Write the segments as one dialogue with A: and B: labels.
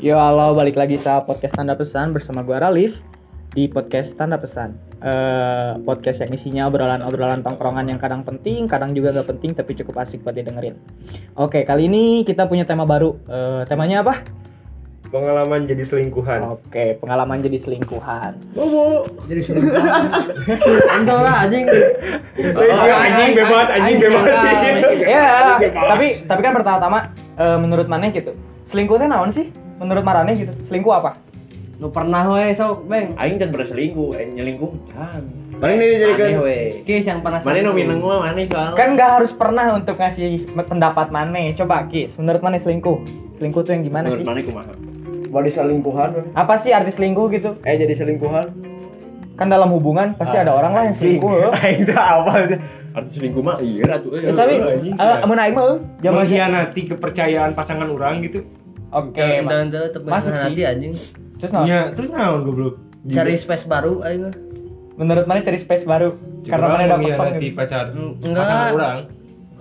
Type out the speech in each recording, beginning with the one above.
A: Yo halo, balik lagi sa podcast tanda pesan bersama gua Ralif di podcast tanda pesan. Eh, podcast yang isinya obrolan-obrolan tongkrongan yang kadang penting, kadang juga gak penting tapi cukup asik buat didengerin. Oke, kali ini kita punya tema baru. Eh, temanya apa?
B: pengalaman jadi selingkuhan
A: Oke, pengalaman jadi selingkuhan.
B: bobo
C: jadi suruh Entah lah anjing
B: anjing bebas anjing bebas
A: Ya, tapi tapi kan pertama-tama eh, menurut maneh gitu. Selingkuhnya naon sih? Menurut Marane gitu. Selingkuh apa?
C: Lu pernah we sok beng
D: Aing kan berselingkuh, eh nyelingkuh can.
B: Mana nih jadi kan?
D: Aneh, weh.
C: Kis yang pernah
D: Mana
C: selingkuh.
D: nu mineng mah mana soalnya.
A: Kan nggak harus pernah untuk ngasih pendapat Mane. Coba Kis, menurut Mane selingkuh. Selingkuh tuh yang gimana
D: menurut
A: sih?
D: mana kumaha?
B: balik selingkuhan
A: Apa sih arti selingkuh gitu?
B: eh jadi selingkuhan
A: Kan dalam hubungan pasti ada orang lah yang selingkuh. heuh.
B: aing teh awal
D: Arti selingkuh mah iya atuh.
A: Eh, tapi eh, amun aing mah heuh,
B: Iya.
A: jaman-
B: mengkhianati kepercayaan pasangan orang gitu
A: Oke,
C: Dan-
A: Ma.
C: dan dan tetep
A: Masuk
C: nanti,
A: sih.
C: anjing
A: Terus naon?
B: ya terus naon goblok Gitu.
C: cari space baru aing mah.
A: Menurut Mane cari space baru karena Mane udah kosong.
B: mengkhianati
A: gitu.
B: pacar
C: Mm, enggak.
B: pasangan orang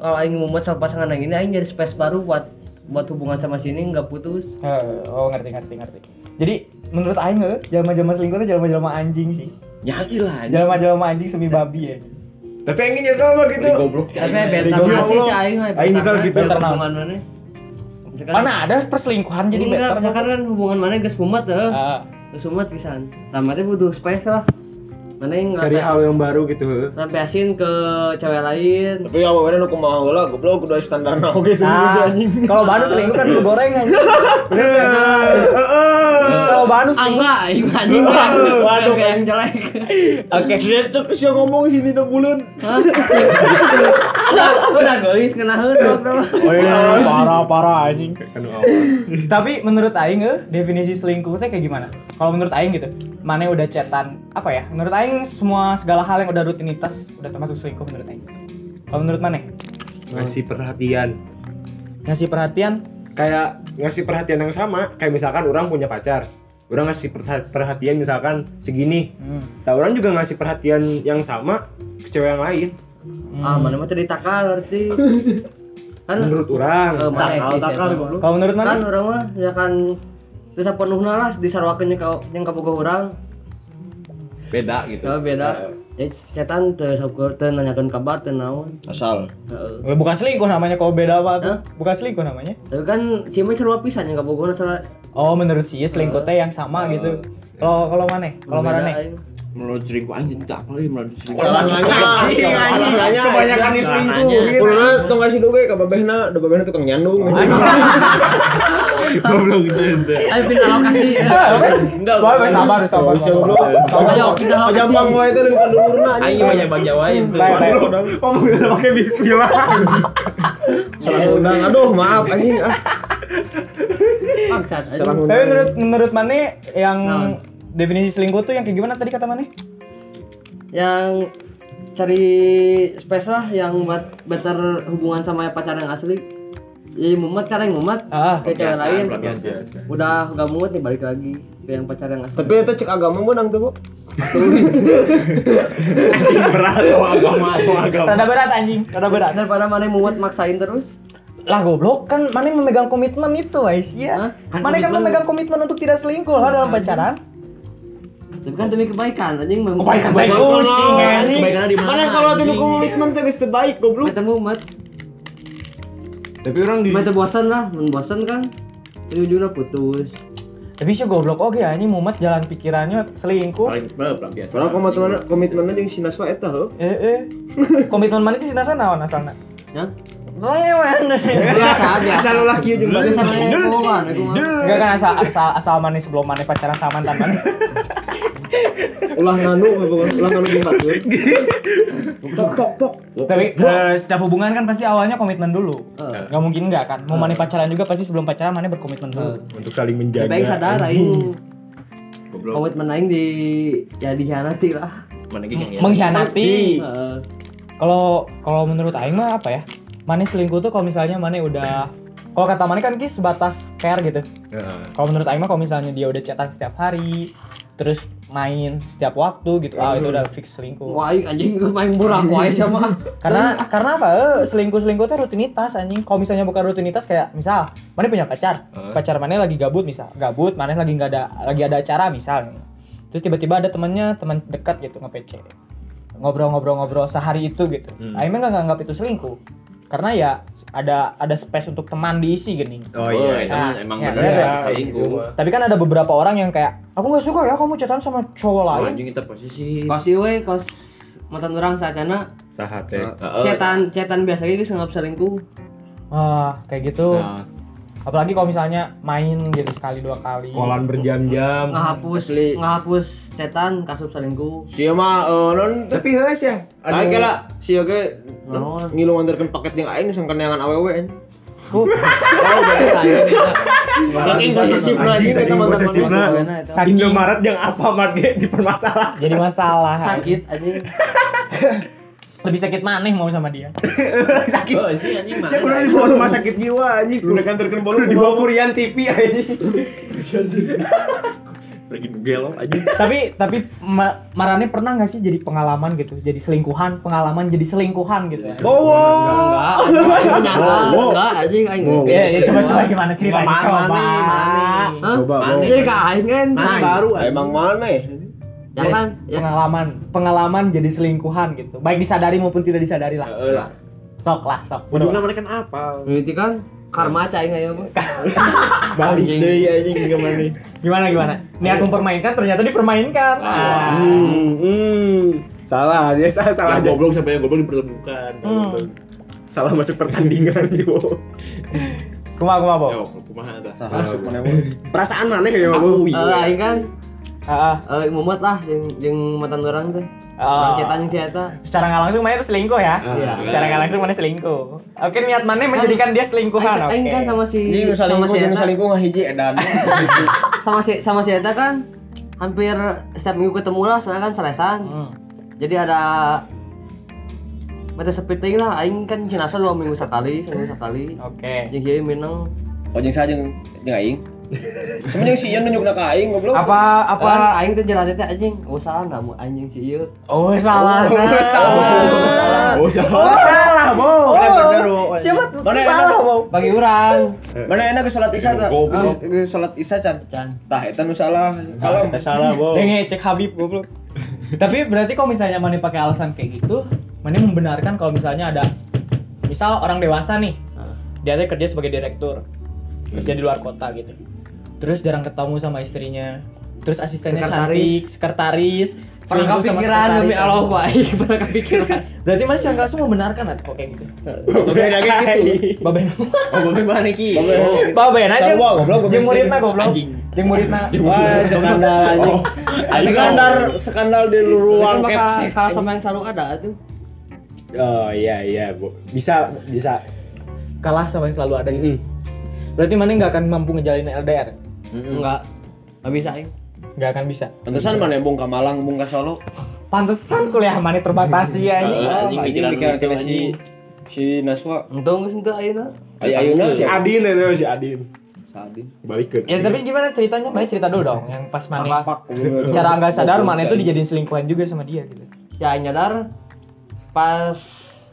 C: kalau aing mumet sama pasangan aing ini aing nyari space baru buat buat hubungan sama sini nggak putus
A: Heuh, Oh, ngerti ngerti ngerti. Jadi menurut aing heuh, jelema-jelema selingkuh tuh jelema-jelema anjing sih.
D: Nyaki lah anjing.
A: Jelema-jelema anjing semi babi ya.
B: tapi aing nyesel sama gitu
D: Beli goblok.
C: tapi
D: Aing.
C: beta
B: goblok.
C: masih sih aing we,
B: Aing
C: beta
B: misal
C: mah,
B: gitu,
C: tiap
A: better now.
C: hubungan mana
A: Mana ada perselingkuhan jadi
C: jadi Kan- enggak
A: better.
C: misalkan kan hubungan mana geus mumet heeh
A: Ah.
C: geus mumet pisan tamatnya butuh space lah mana yang
B: cari hal yang baru gitu
C: rampiasin ke cewek lain
E: tapi apa mana nu kumaha heula goblok udah standar na oge
A: Nah, kalau Banu selingkuh kan lu goreng aja.
B: Nah. Ah,
A: Kalau Banu
C: ah
A: selingkuh.
C: enggak anjing anjing kan waduh yang jelek
A: Oke.
E: Cek sia ngomong sini na bulan.
C: Hah? udah udah gelis kena huruf dong
A: parah parah anjing.
B: kan awal
A: Tapi menurut aing eh, definisi selingkuh teh kayak gimana? Kalau menurut aing gitu, mana udah cetan apa ya? Menurut aing semua segala hal yang udah rutinitas udah termasuk selingkuh menurut aing. Kalau menurut mana?
B: ngasih perhatian
A: Ngasih perhatian
B: kayak ngasih perhatian yang sama kayak misalkan orang punya pacar orang ngasih perha- perhatian misalkan segini
A: Hmm.
B: nah orang juga ngasih perhatian yang sama ke cewek yang lain
C: ah mana mah cerita berarti kan
B: menurut orang
C: eh, mana sih
E: Takal takal
C: siapa?
E: goblok.
A: kalau menurut
C: kan
A: mana?
C: orang mah misalkan bisa penuhna lah disarwakeun ka yang ka boga urang
D: Beda gitu.
C: ya beda ya cetan teu sabku- teu nanyakeun kabar teu naon
D: Asal.
C: Heeh.
A: Eh, Bukan selingkuh namanya kalau beda apa tuh?
C: Hah?
A: Bukan selingkuh namanya.
C: tapi kan si mah sarua pisan yang ka boga urang sarua-
A: Oh, menurut si selingkuh teh yang sama gitu. Kalau kalau mana? Kalau
C: beda,
A: marane?
C: aing.
D: Menurut selingkuh anjing tak apa lagi menurut selingkuh.
B: Anjing, anjing. kebanyakan
D: Iya,
B: selingkuh
D: iya.
B: gitu.
E: Purna tong kasih doge ka babehna, da babehna tukang nyandung.
D: Goblok gitu ente.
C: ayo pindah lokasi
D: Enggak.
A: Iya, Wah, weh, sabar, sabar, sabar.
C: ayo pindah lokasi
E: Kajampang wae teh dari kandulurna
D: Aing
E: anjing.
D: banyak bagi wain tuh.
A: Baik, baik.
B: Ngomong udah pakai bismillah.
E: Salah undang.
B: Iya.
E: Aduh, maaf anjing. Ah,
C: Bangsat, anjing.
E: salah
A: Tapi
E: undang.
A: menurut menurut mana yang
C: Nah.
A: definisi selingkuh tuh yang kayak gimana tadi kata mana?
C: yang cari space lah yang buat better hubungan sama pacar yang asli jadi mumet cara yang mumet
A: Ah,
C: ke cewek lain
D: Biasa.
C: udah gak mumet nih balik lagi ke yang pacar yang asli
E: Tapi eta cek agama menang tuh, Bu.
B: Berat oh agama, oh agama.
A: Rada berat anjing, rada berat.
C: daripada mana yang mumet maksain terus
A: Lah goblok kan mana memegang komitmen itu guys
C: Hah?
A: ya.
D: Kan
A: Mana kan
D: komitmen-
A: memegang komitmen untuk tidak selingkuh lah dalam pacaran.
C: tapi kan demi kebaikan anjing memang
A: Kebaikan baik
D: Kebaikan
B: Oh,
A: kucing
D: lo.
A: anjing.
D: Kebaikan di mana?
E: Mana kalau tuh
D: anjing?
E: komitmen teh geus teu baik goblok.
C: kita mumet
B: Tapi orang di
C: mata bosan lah men bosan kan ujungnya putus
A: Tapi sih goblok oke anjing mumet jalan pikirannya selingkuh.
D: Paling eh, paling biasa.
E: Soalnya komitmen komitmenna jeung sinaswa eta heuh.
A: Eh eh. Komitmen mana itu sinasa naon asalna?
C: ya
A: Lelewan.
C: biasa biasa
E: Asal ulah kieu jeung
C: biasa mana yang bohongan, aku mah.
A: Enggak kan asal asal, asal mana sebelum mana pacaran sama mantan mana.
E: ulah nganu heuh, ulah nganu jeung batur. Pok pok pok.
A: Tapi eh, setiap hubungan kan pasti awalnya komitmen dulu.
C: Eh.
A: Gak mungkin nggak kan. Mau mana pacaran juga pasti sebelum pacaran mana berkomitmen dulu.
C: Eh.
B: untuk saling
C: Tapi
B: menjaga. Nah,
C: aing sadar aing
D: Goblok.
C: komitmen aing di ya dikhianati lah.
D: Mana ya? gini yang
A: Mengkhianati.
C: Heeh.
A: Kalau kalau menurut aing mah apa ya? Mana selingkuh tuh kalau misalnya mana udah kalau kata
B: Ya.
A: mana kan kis sebatas care gitu. Kalau menurut aing mah kalau misalnya dia udah chatan setiap hari, terus main setiap waktu gitu ah itu udah fix selingkuh
C: Wah, aing anjing gue main borak wae sama.
A: karena karena apa eh, selingkuh selingkuh teh rutinitas anjing kalau misalnya bukan rutinitas kayak misal mana punya pacar pacar mana lagi gabut misal gabut mana lagi nggak ada lagi ada acara misal terus tiba-tiba ada temennya teman dekat gitu ngepc ngobrol-ngobrol-ngobrol sehari itu gitu Aing mah nggak nganggap itu selingkuh karena ya ada ada space untuk teman diisi gini
B: Oh iya.
D: itu mah emang
A: Ya, iya,
D: bener ya,
A: iya.
D: bisa
B: gitu.
D: lingkup.
A: tapi kan ada beberapa orang yang kayak aku nggak suka ya kamu chatan sama cowok
D: Oh,
A: lain
D: anjing itu posisi.
C: Kos ieu we kos mantan urang sacana
B: Sahat ya.
D: Heeh.
C: cetan cetan biasa ge geus nganggap selingkuh.
A: ah kayak gitu
D: Nah,
A: apalagi kalau misalnya main gitu sekali dua kali
B: Kolan berjam-jam.
C: Ngahapus
E: Asli.
C: ngahapus cetan kasup selingkuh.
E: Sia mah eh, non
B: Tapi heus ya. Anu-
E: Aing kala sia ge
C: Naon?
E: ngilu nganterkeun paket yang aing sangkan neangan awewe anjing.
A: Uh,
E: Tahu bener anjing. Saking posesifna
B: Anjing,
E: anjing
B: saking posesifna.
E: teman-teman.
C: Pokoknya eta.
A: Sakit.
B: Indomaret yang apa mage dipermasalah.
A: jadi masalah
C: Sakit anjing.
A: lebih sakit maneh mau sama dia
B: sakit.
D: Oh, sih, anjing, mana
B: Siapa udah
D: ada?
B: dibawa rumah sakit jiwa anjing.
E: Lu udah nganterkeun bolu
B: Udah kan dibawa kurian TV anjing.
D: freaking gelok aja.
A: tapi tapi ma Marane pernah nggak sih jadi pengalaman gitu jadi selingkuhan pengalaman jadi selingkuhan gitu
E: Bowo.
C: Enggak, anjing nyangka. Enggak anjing aing.
B: Wow,
A: ya ya coba coba
C: Iya.
A: gimana cerita
D: Mana,
A: coba
D: mana, mana.
C: Hah?
B: Coba,
C: Anjing,
D: Bang.
C: ka aing kan.
D: Mana?
E: Baru emang mana ya?
C: Jangan ya.
A: pengalaman pengalaman jadi selingkuhan gitu baik disadari maupun tidak disadari lah
D: Heeh lah.
A: sok lah sok
D: Ujungnya mereka kan apa?
C: Ngiti kan ya, karma aca aing ayeuna.
E: Balik
C: Anjing.
E: deui
B: ya,
E: anjing gimana nih?
A: gimana gimana niat mempermainkan ternyata dipermainkan ah.
B: Hmm, hmm. Salah, dia salah salah
D: Yang
B: aja.
D: goblok sampai yang goblok dipertemukan. Gitu.
A: Hmm.
B: Salah masuk pertandingan yo.
A: kumaha kumaha
D: Ya,
A: Bo?
D: kumaha dah.
E: Masuk mana wae.
B: Perasaan Iya. mana kayak
D: Aku
B: mau?
C: Eh, aing kan
A: Ah, ah.
C: eh mumet lah jeung jeung mantan urang teh.
A: Ah.
C: Orang cetan jeung si eta.
A: secara nggak langsung mana itu selingkuh ya
C: Iya.
A: secara nggak langsung mana selingkuh oke niat mana menjadikan dia selingkuhan oke
C: Aing Ah. kan sama si
E: Anjing nu
C: sama
E: salingkuh
C: si
E: jeung
C: eta
E: salingkuh ngahiji
B: eh,
E: edan.
C: sama si sama si Eta kan hampir setiap minggu ketemu lah soalnya kan selesan
A: Hmm.
C: jadi ada mata sepiting lah aing kan jenazah dua minggu sekali seminggu sekali
A: oke
C: jeung kieu mineng
E: Oh jeung sajeng jeung aing. Cuma jeung si Ian nunjukna ka aing goblok.
A: apa apa
C: Kan aing teh jelas teh anjing oh salah kamu anjing iya. si ieu
A: Eh? oh salah
B: Oh, salah. Oh,
A: Oh,
B: salah.
A: salah, Bo.
E: Bener, bener, Bo.
A: Siapa tuh
E: Bener,
A: salah,
E: bener.
A: Bo?
C: bagi urang
E: Mana enak ke salat isya ta?
B: Goblok.
E: Ke salat isya can.
C: Can.
E: Tah eta nu salah. Kalem.
B: Salah, Bo.
A: Denge, Oh. eh, cek Habib goblok. Tapi berarti kalau misalnya Mane pakai alasan kayak gitu, Mane membenarkan kalau misalnya ada misal orang dewasa nih. Dia teh kerja sebagai direktur. Kerja di luar kota gitu. Terus jarang ketemu sama istrinya. Terus asistennya
C: Sekretaris.
A: cantik, sekretaris,
C: pernah
A: selingkuh sama
C: kepikiran demi
A: sekretaris.
C: Allah gua aing pernah kepikiran
A: Berarti Mane secara nggak langsung membenarkan atau kok kayak gitu.
E: Oke, lagi gitu.
A: Baben.
E: Oh, babe mana ki?
D: Oh,
A: Baben aja.
E: Sarua, goblok, goblok.
A: Jeung muridna goblok.
E: Anjing.
A: Jeung muridna.
E: Wah, skandal anjing. Skandal, skandal di
D: Iya,
C: kan
E: ruang
C: bakal
E: capsek.
C: kalau sama yang selalu ada tuh
B: Oh iya iya, Bu. Bisa bisa.
A: Kalah sama yang selalu ada
B: Hmm.
A: gitu. Berarti Mane nggak akan mampu ngejalin LDR.
C: enggak enggak bisa aing
A: nggak akan bisa.
E: Pantesan mana yang bung ka Malang, bung ka Solo.
A: Pantesan kuliah mana terbatasi ya ini.
D: Heeh, anjing
E: Ah,
D: pikiran
E: pikiran
D: itu
E: kena si
D: anjing. Iya,
E: si Naswa.
C: untung geus teu ayeuna
E: Ayo ayeuna
B: Si
E: siapa?
B: Adin itu si Adin.
E: Sadi.
B: Balikin.
A: Ya tapi gimana ceritanya? Mana cerita dulu dong yang pas mana
E: Fuck, bener.
A: secara nggak sadar mana itu dijadiin selingkuhan juga sama dia gitu.
C: ya aing nyadar pas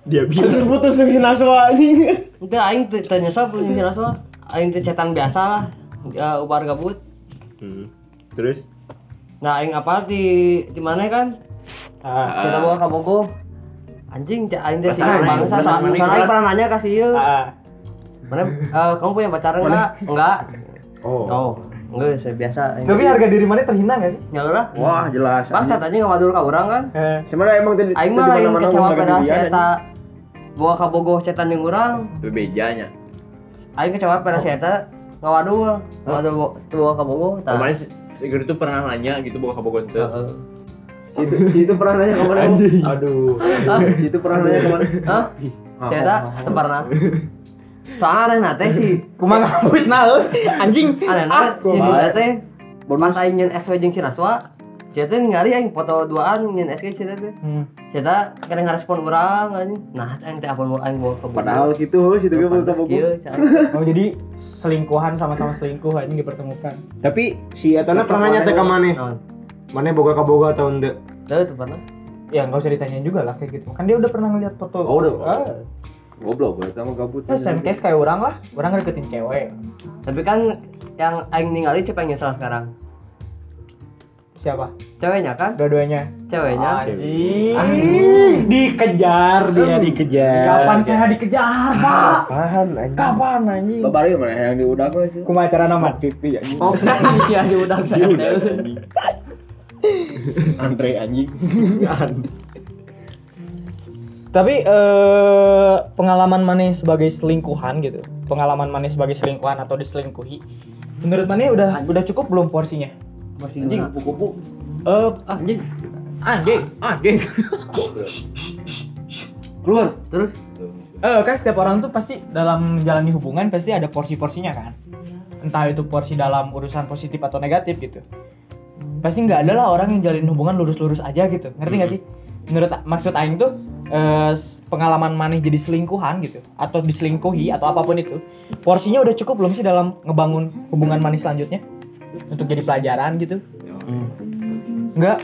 B: Dia bilang.
E: Terus putus dengan si Naswa anjing.
C: Itu aing teu teu nyesel punya si Naswa. Aing teh cetan biasa lah, ya, ubar gabut.
B: Hmm. Terus
C: Nah, aing apa di di mana kan?
A: Ah,
C: Cerita bawa ka Bogo. Anjing, cek aing teh sih
B: Perasaan aing,
C: bangsa.
B: perasaan
C: Soalnya
B: aing,
C: soalnya aing
B: perasaan.
C: pernah nanya ka si ieu.
A: ah.
C: Mana eh, kamu punya pacar enggak? Enggak.
B: oh.
C: Oh, enggak saya biasa. aing.
A: Tapi harga diri mana terhina nggak sih?
C: Ya udah.
E: Wah, jelas.
C: Bangsat anjing ngawadul ka urang kan.
A: Eh,
E: Sebenarnya emang tadi
C: Aing mah lain kecewa pada si eta bawa ka Bogo cetan jeung urang.
D: Bebejanya.
C: Aing kecewa pada si eta ngawadul. Ngawadul bo- bawa ka Bogo. tah.
D: Kemarin si Sigurd itu pernah nanya gitu bawa ke Bogor tuh.
C: Heeh.
E: Itu itu pernah nanya kemana? Anjing.
B: Aduh.
E: Itu Ah, pernah nanya kemana?
C: Hah? Saya tak pernah. Soalnya ada nate sih.
A: kumang ngapus naon? Anjing. Ah,
C: Ada nate si Dinda teh. Pas aing nyen SW jeung Ciraswa, saya teh ningali aing foto duaan nyen SG saya teh.
A: Hmm.
C: Saya teh kena ngarespon urang anjing. Nah, aing teh apa mau aing bawa ke
E: Padahal gitu, situ gue mau
C: Pantes
E: tahu.
C: kieu, cara.
A: Oh jadi selingkuhan sama-sama selingkuh anjing dipertemukan.
B: Tapi si Etana pernah nyata ke mana?
C: Naon?
B: mana boga kaboga atau ende
C: Tahu itu pernah?
A: ya nggak usah ditanyain juga lah kayak gitu kan dia udah pernah ngeliat foto
B: Oh, udah.
A: Ah.
E: Goblok, gue sama gabut.
A: Nah, same case kayak orang lah, orang ngedeketin cewek.
C: Tapi kan yang aing ninggalin siapa yang nyesal sekarang?
A: Siapa?
C: Ceweknya kan?
A: Dua-duanya. Ah,
C: Ceweknya.
A: Anjing.
B: dikejar dia dikejar
A: Kapan saya dikejar, Pak?
B: apaan anjing
A: Kapan anjing?
E: Bapak mana yang diudak gue sih?
A: Kumaha cara nama?
E: Pipi anjing.
C: Oh, si aja udah saya tahu.
E: Andre anjing.
A: Tapi eh pengalaman maneh sebagai selingkuhan gitu. Pengalaman maneh sebagai selingkuhan atau diselingkuhi. Menurut maneh udah udah cukup belum porsinya?
C: Masih
E: Anjing
C: gimana?
E: kupu-kupu.
A: Eh,
C: Ah, anjing.
A: anjing, anjing.
E: Keluar.
C: Terus
A: Eh kan setiap orang tuh pasti dalam menjalani hubungan pasti ada porsi-porsinya kan. Entah itu porsi dalam urusan positif atau negatif gitu. Pasti nggak ada lah orang yang jalin hubungan lurus-lurus aja gitu. Ngerti nggak sih? Menurut maksud Aing tuh eh, s- pengalaman maneh jadi selingkuhan gitu atau diselingkuhi atau apapun itu porsinya udah cukup belum sih dalam ngebangun hubungan manis selanjutnya untuk jadi pelajaran gitu nggak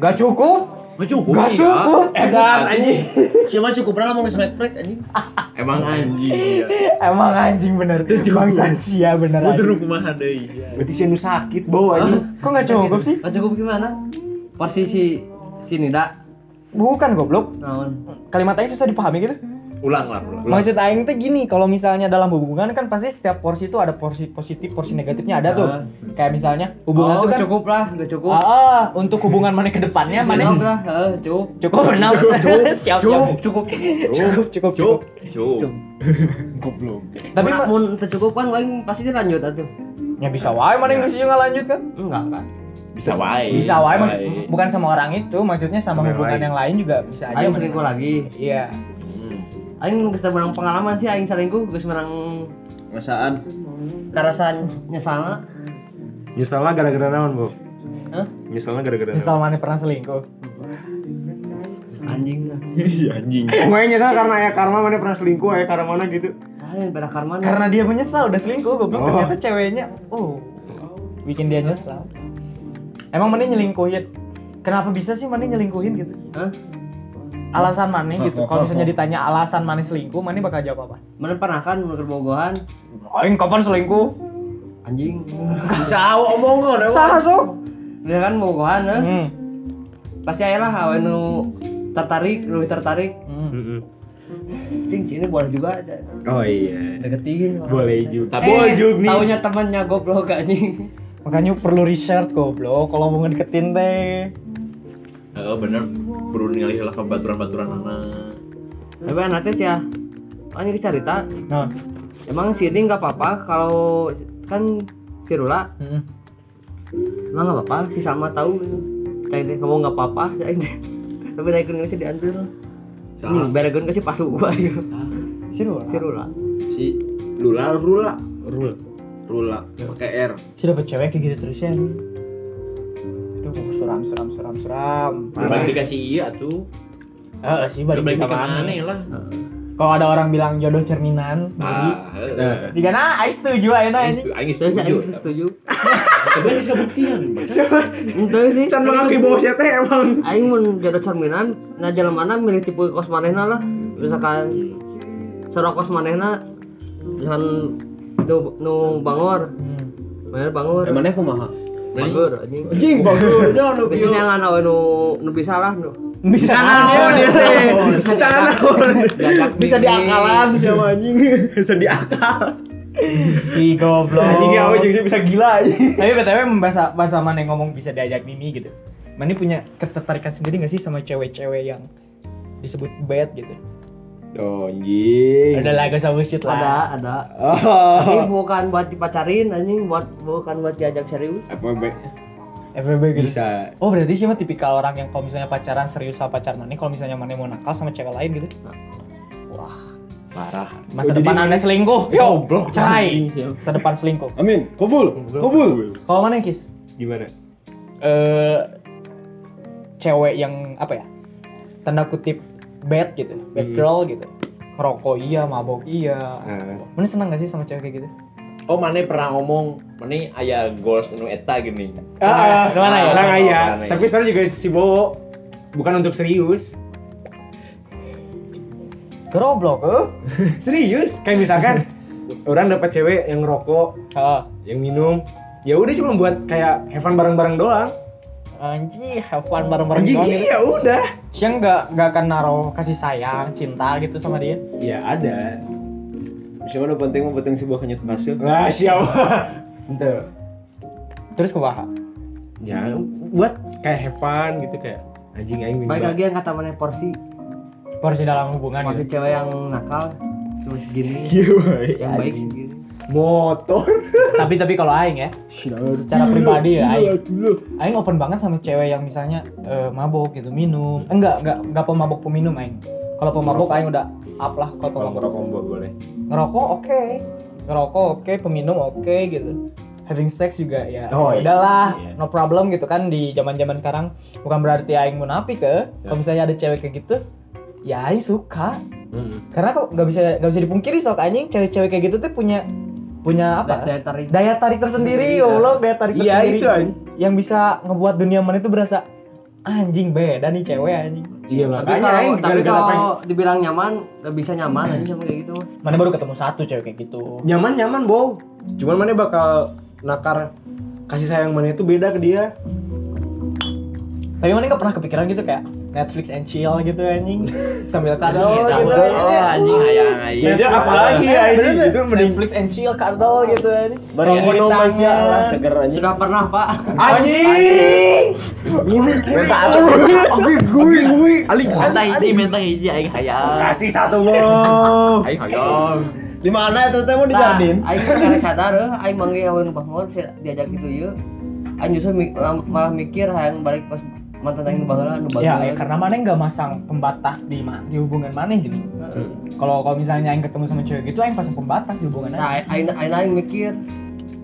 A: nggak cukup
D: Nggak cukup.
A: nggak
D: iya.
A: cukup
B: edan anjing
D: Siapa cukup pernah ngomong smack crack anjing? Emang
F: Iya.
D: anjing. iya.
A: emang anjing bener bangsa sia bener
D: Gue
A: anjing.
D: terus kumaha deui.
B: berarti sih nu sakit bau anjing
A: Kok nggak cukup sih?
C: Gak cukup gimana? Porsi si si Nida.
A: Bukan goblok.
C: Naon?
A: Kalimat aing susah dipahami gitu.
D: Ulang lah, ulang.
A: Maksud aing tuh gini, kalau misalnya dalam hubungan kan pasti setiap porsi itu ada porsi positif, porsi negatifnya ada tuh.
C: Ah.
A: Kayak misalnya hubungan
C: oh,
A: tuh kan
C: cukup lah, gak cukup.
A: Ah, ah, untuk hubungan mana ke depannya
C: Cukup
A: mana
C: lah, eh, cukup.
A: cukup benar. Siap, siap.
C: cukup.
A: Cukup, cukup, cukup.
D: Cuk, cuk.
C: Cukup.
E: Goblok.
A: Tapi
C: Mun-
A: ma-
C: mun tercukup kan lain pasti dilanjut atuh.
A: ya bisa wae mana yang nggak lanjut kan?
C: Enggak kan.
D: Bisa wae.
A: Bisa wae maksud-
D: Iya.
A: bukan sama orang itu, maksudnya sama
B: Sama yang
A: hubungan
B: lain.
A: yang lain juga bisa aja.
C: Aing
A: mana.
C: selingkuh lagi.
A: Iya.
C: Aing geus teu menang pengalaman sih aing selingkuh geus menang
E: Ngesaan.
C: karasan nyesal.
B: nyesalnya gara-gara naon bu
C: Hah?
B: nyesalnya gara-gara naon
A: Misal mana pernah selingkuh.
C: Anjing lah.
D: Iya anjing.
B: Pokoknya nyesal karena ya karma mana pernah selingkuh ya karena mana gitu
C: Kalian pada Ah, karma nih.
A: Karena dia menyesal udah selingkuh, goblok
B: Oh.
A: ternyata ceweknya oh bikin dia nyesal. Emang mana nyelingkuhin? Kenapa bisa sih mana nyelingkuhin gitu?
C: Hah?
A: Alasan mana gitu? Kalau misalnya ditanya alasan mana selingkuh, mana bakal jawab apa?
C: Mana pernah kan mun keur bogohan?
A: Aing kapan selingkuh?
C: Anjing.
E: Sawo omong kok.
A: Saha sok?
C: Dia kan bogohan eh.
A: Oh, Hmm.
C: Pasti aya lah awe nu tertarik, lebih tertarik. Cing sini boleh juga aja.
B: oh iya
C: Deketin. orang.
B: boleh juga
D: Tapi
C: Eh,
B: juga nih.
C: Taunya temannya goblok anjing.
A: Makanya perlu riset goblok kalau mau ngedeketin teh.
D: Heeh, bener perlu ningali heula ka baturan-baturan anak.
C: Tapi nanti sih ya. Anjing cerita.
A: Nah.
C: Emang si ini nggak apa-apa kalau kan si Rula
A: Hmm.
C: emang nggak apa-apa si sama tahu cai deh kamu nggak apa-apa cai deh tapi naik gunung sih diambil ini beregun kasih pasu gua yuk
A: Siru.
C: si Rula
E: Si Lula Rula.
B: rule
E: Rula pakai R.
A: Si dapat cewek kayak gitu terus ya. Aduh, seram seram seram seram.
D: Balik dikasih iya tuh.
A: Eh, sih balik
D: Balik
A: ke
D: dikasih
A: mana?
D: mana lah.
A: Kalau ada orang bilang jodoh cerminan, jadi
D: Ah, heeh.
F: Eh.
A: jika nah, I setuju ayo nah ini.
D: Aing
C: terus saya
D: setuju.
C: setuju
D: Tapi geus kabuktian.
C: itu sih
B: Can mengakui bahwa saya teh emang
C: Aing mau jodoh cerminan nah jalan mana milih tipe kos manehna lah misalkan sorok kos manehna misalkan nu, nu bangor mana bangor
E: Emangnya kumaha?
C: bangor anjing
E: Anjing bagus.
C: biasanya ngan awe nu nu bisa lah nu
A: Bisa naon ya teh.
C: bisa naon
A: Bisa diakalan
B: sama anjing sedih akal
A: si goblok.
B: anjingnya awe juga ya, bisa gila anjing
A: Tapi btw bahasa bahasa mana yang ngomong bisa diajak Mimi gitu. Mani punya ketertarikan sendiri gak sih sama cewek-cewek yang disebut bad gitu?
B: oh anjing
A: Udah lah, gak usah bullshit
C: ada
A: lah.
C: ada
B: oh
C: tapi bukan buat dipacarin anjing buat bukan buat diajak serius
B: FWB
A: FBB gitu.
B: bisa
A: Oh berarti sih mah tipikal orang yang kalau misalnya pacaran serius sama pacar Mani, kalau misalnya Mani mau nakal sama cewek lain gitu.
D: Parah.
A: Masa
B: Oh, jadi
A: depan anda selingkuh, yo,
D: Goblok.
A: cai. Masa depan selingkuh.
B: amin kabul kabul
A: Kalau mana kis?
B: gimana
A: eh cewek yang apa ya tanda kutip bad gitu bad girl gitu merokok iya mabok iya
B: Eh.
A: Mana seneng gak sih sama cewek kayak gitu
F: oh mana pernah ngomong mana aya goals nu eta gini
A: Ah, kemana ya?
B: Orang aya.
F: Mana ya?
B: Tapi sekarang juga si Bowo bukan untuk serius.
A: Geroblok, eh?
B: Serius? Kayak misalkan orang dapat cewek yang ngerokok,
A: Ah,
B: yang minum, ya udah cuma buat kayak have fun bareng-bareng doang.
A: anjing, have fun bareng-bareng
B: Anjing,
A: doang gitu.
B: iya udah.
A: Sia nggak nggak akan naruh kasih sayang, cinta gitu sama dia.
B: Ya ada.
E: Siapa nu penting mah penting sebuah kenyut masuk.
B: Nah, siapa? Bentar.
A: Terus kumaha?
B: Ya, buat kayak have fun gitu kayak anjing aing
C: Baik
B: mimpi.
C: lagi yang kata mana porsi
A: Porsi dalam hubungan
C: porsi
A: gitu.
C: cewek yang nakal cuma segini yang baik segini
B: Motor.
A: tapi tapi kalau aing ya, secara pribadi ya aing. Aing open banget sama cewek yang misalnya eh, mabok gitu, minum. Eh, enggak, enggak enggak pemabok peminum aing. Kalau pemabok aing udah up lah kalau
B: Kalau
A: pemabok.
B: ngerokok combo boleh.
A: Ngerokok oke. Ngerokok oke, peminum oke gitu. Having sex juga ya.
B: Oh, iya.
A: udahlah,
B: Iya.
A: no problem gitu kan di zaman-zaman sekarang. Bukan berarti aing munafik
B: Iya.
A: ke. Kalau misalnya ada cewek kayak gitu, ya aing suka. karena kok nggak bisa nggak bisa dipungkiri sok anjing cewek-cewek kayak gitu tuh punya punya apa
C: Da- daya tarik
A: daya tarik tersendiri ya
C: Iya.
A: Allah daya tarik
B: Iya,
A: tersendiri
B: itu, anjing.
A: yang bisa ngebuat dunia mana itu berasa "Ah, anjing beda nih cewek anjing
B: Iya
C: tapi
B: makanya
C: kalau
B: aing
C: tapi
B: gara-gara pengen
C: kalau dibilang nyaman nggak bisa nyaman aja sama kayak gitu mah.
A: mana baru ketemu satu cewek kayak gitu
B: nyaman nyaman bow cuman mana bakal nakar kasih sayang mana itu beda ke dia
A: tapi mana nggak pernah kepikiran gitu kayak Netflix and chill gitu anjing sambil kadal
F: Eta,
A: gitu Eh,
F: oh,
D: iya,
F: anjing aya aya
B: beda apalagi ya ini itu mending
A: Netflix and chill kadal gitu anjing ya.
E: Bari
A: Rokok di
E: anu masih
A: tangan.
E: lah seger aja.
C: sudah pernah pak
B: Iya. anjing Iya. gue gue gue
F: Ali menta hiji menta hiji aing hayang
B: kasih satu bow
E: Eh,
F: aing hayang
E: Di mana itu teh mau di
C: Nah,
E: Jardin?
C: aing sekarang sadar eh, aing manggil awan bangor diajak gitu ya aing justru mi- malah mikir hayang balik pas mantan aing bangor anu
A: ya,
C: bangor
A: ya, karena mana nggak masang pembatas di, ma- di hubungan mana gitu kalau kalau misalnya aing ketemu sama cewek gitu aing pasang pembatas di hubungan aing.
C: nah aing aing aing mikir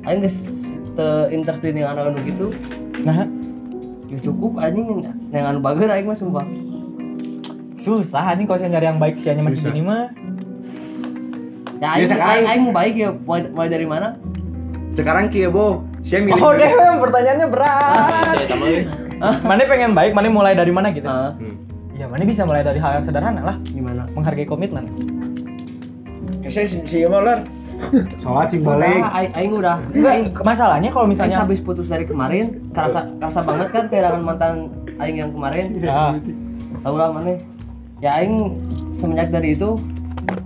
C: aing geus teu interested yang anu anu gitu
A: nah
C: ya cukup anjing yang anu bangor aing mah sumpah
A: susah nih kalau saya nyari yang baik sianya masih
B: Susah.
A: gini mah
C: ya
B: Ya,
C: aing
B: sekarang-
C: aing, aing mau baik ya mulai, mulai dari mana
B: sekarang kia bow saya milih
A: oh damn pertanyaannya berat
F: eta mah euy.
A: mana pengen baik mana mulai dari mana gitu
C: Ah,
A: ya mana bisa mulai dari hal yang sederhana lah
C: gimana
A: menghargai komitmen
B: Eh,
E: Saya si si Imam Lar.
B: sholat sih balik
C: Nah, aing, aing udah aing
A: enggak masalahnya kalau
C: Aing
A: misalnya
C: habis putus dari kemarin, kerasa kerasa banget kan kehilangan mantan aing yang kemarin.
A: Ah,
C: Tahu lah mana. Ya aing semenjak dari itu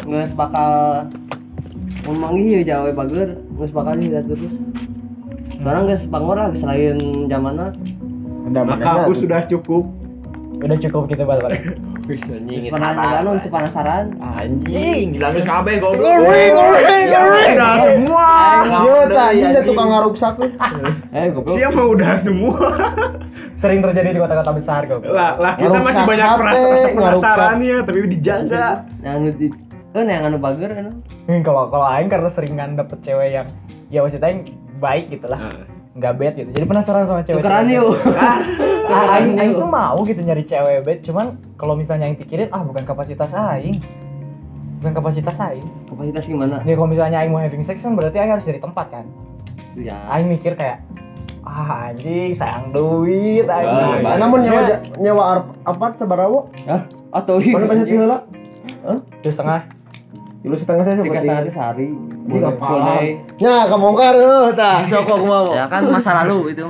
C: nggak bakal ngomong iya jawa bager, nggak bakal lihat terus. Sekarang nggak bangor lah selain zamannya.
B: maka aku sudah cukup
A: udah cukup kita balik balik
F: Wis, anjing geus
C: Pernah
F: salah.
C: ada itu penasaran.
F: anjing dilapis kabeh goblok
E: Udah semua. Yo tah ini ada tukang ngaruksak tuh.
C: Eh goblok.
B: siapa udah semua
A: sering terjadi di kota-kota besar kok
B: lah lah kita
E: Ngaruksak
B: masih banyak
E: hati,
B: perasaan
E: ngaruksak.
B: penasarannya tapi dijaga
C: Nah, anu di Eh, nah, yang anu bager anu.
A: Hmm, kalau kalau aing karena seringan dapet cewek yang ya maksudnya aing baik gitu lah
E: Nah,
A: nggak bad gitu jadi penasaran sama cewek
C: Tukeran yuk.
A: Ah, aing, aing tuh mau gitu nyari cewek bed, cuman kalau misalnya yang pikirin ah bukan kapasitas aing. Bukan kapasitas aing.
C: Kapasitas gimana?
A: Ya kalau misalnya aing mau having sex kan berarti aing harus dari tempat kan.
C: Ya.
A: Aing mikir kayak ah anjing sayang duit aing.
F: Ah,
A: Aing-
F: Balik.
E: Namun nyawa ja- nyawa ar- apart sabarawa.
C: Hah? Atau
E: Mana banyak
C: iya.
E: tiheula? Hah?
A: Terus setengah.
E: Ilu setengah teh
C: Tiga
E: seperti.
C: setengah sehari.
E: Jika
C: Boleh.
E: paham.
C: Boleh.
E: Ya, kebongkar eueuh tah. Sok aku mau.
C: ya kan masa lalu itu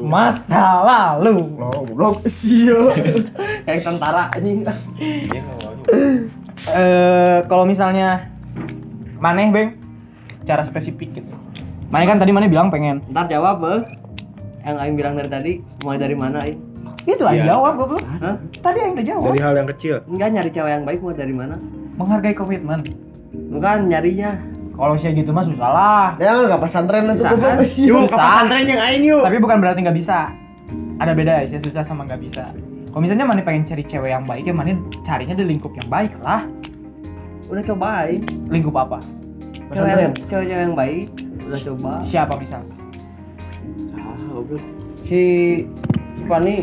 A: Masa lalu.
E: Oh, goblok. Sia.
C: kayak tentara anjing
A: Eh kalau misalnya maneh beng cara spesifik gitu. Maneh kan tadi maneh bilang pengen.
C: ntar jawab eh yang Aing bilang dari tadi mulai dari mana Aing
A: Itu aing
B: Iya.
A: jawab goblok.
C: Hah?
A: Tadi aing udah jawab.
B: dari hal yang kecil
C: enggak nyari cewek yang baik mulai dari mana
A: Menghargai komitmen.
C: bukan nyarinya
A: Kalau sih gitu mah susah lah.
E: Ya kan enggak pesantren itu
C: Usaha.
E: goblok. Sia.
B: yuk ke pesantren yang aing yuk
A: Tapi bukan berarti nggak bisa. Ada beda ya, susah sama nggak bisa. Kalau misalnya Mani pengen cari cewek yang baik, ya Mani carinya di lingkup yang baik lah.
C: udah coba Aing
A: Lingkup apa?
C: cewek
E: Pesantren.
C: cewek yang baik udah coba
A: Siapa misalnya?
C: si si Fani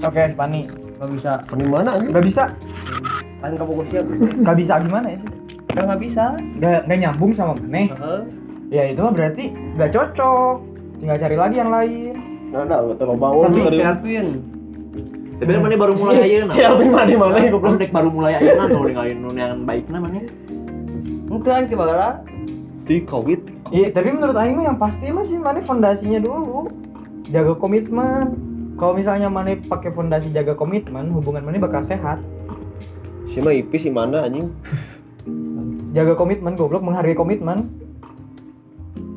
A: Oke, si Pani.
C: nggak bisa
E: Di mana anjing?
A: Nggak bisa.
C: Aing ke fokusnya
A: Nggak bisa gimana ya sih?
C: udah nggak bisa
A: nggak nggak nyambung sama maneh
C: Heeh.
A: ya itu mah berarti nggak cocok tinggal cari lagi yang lain
E: Nah, nah, kita bawa
C: tapi
E: dari
C: diakuin
D: Tapi mana baru mulai aja nah.
E: Siapa yang mana mana ya
D: Goblok dek baru mulai aja nah kalau ninggalin nun yang baiknya mana.
C: itu kan kebala
E: Di covid.
A: Iya, tapi menurut Aing mah yang pasti masih mana fondasinya dulu. Jaga komitmen. Kalau misalnya mana pakai fondasi jaga komitmen, hubungan mana bakal sehat.
E: Si mah ipis si mana anjing?
A: Jaga komitmen, goblok menghargai komitmen.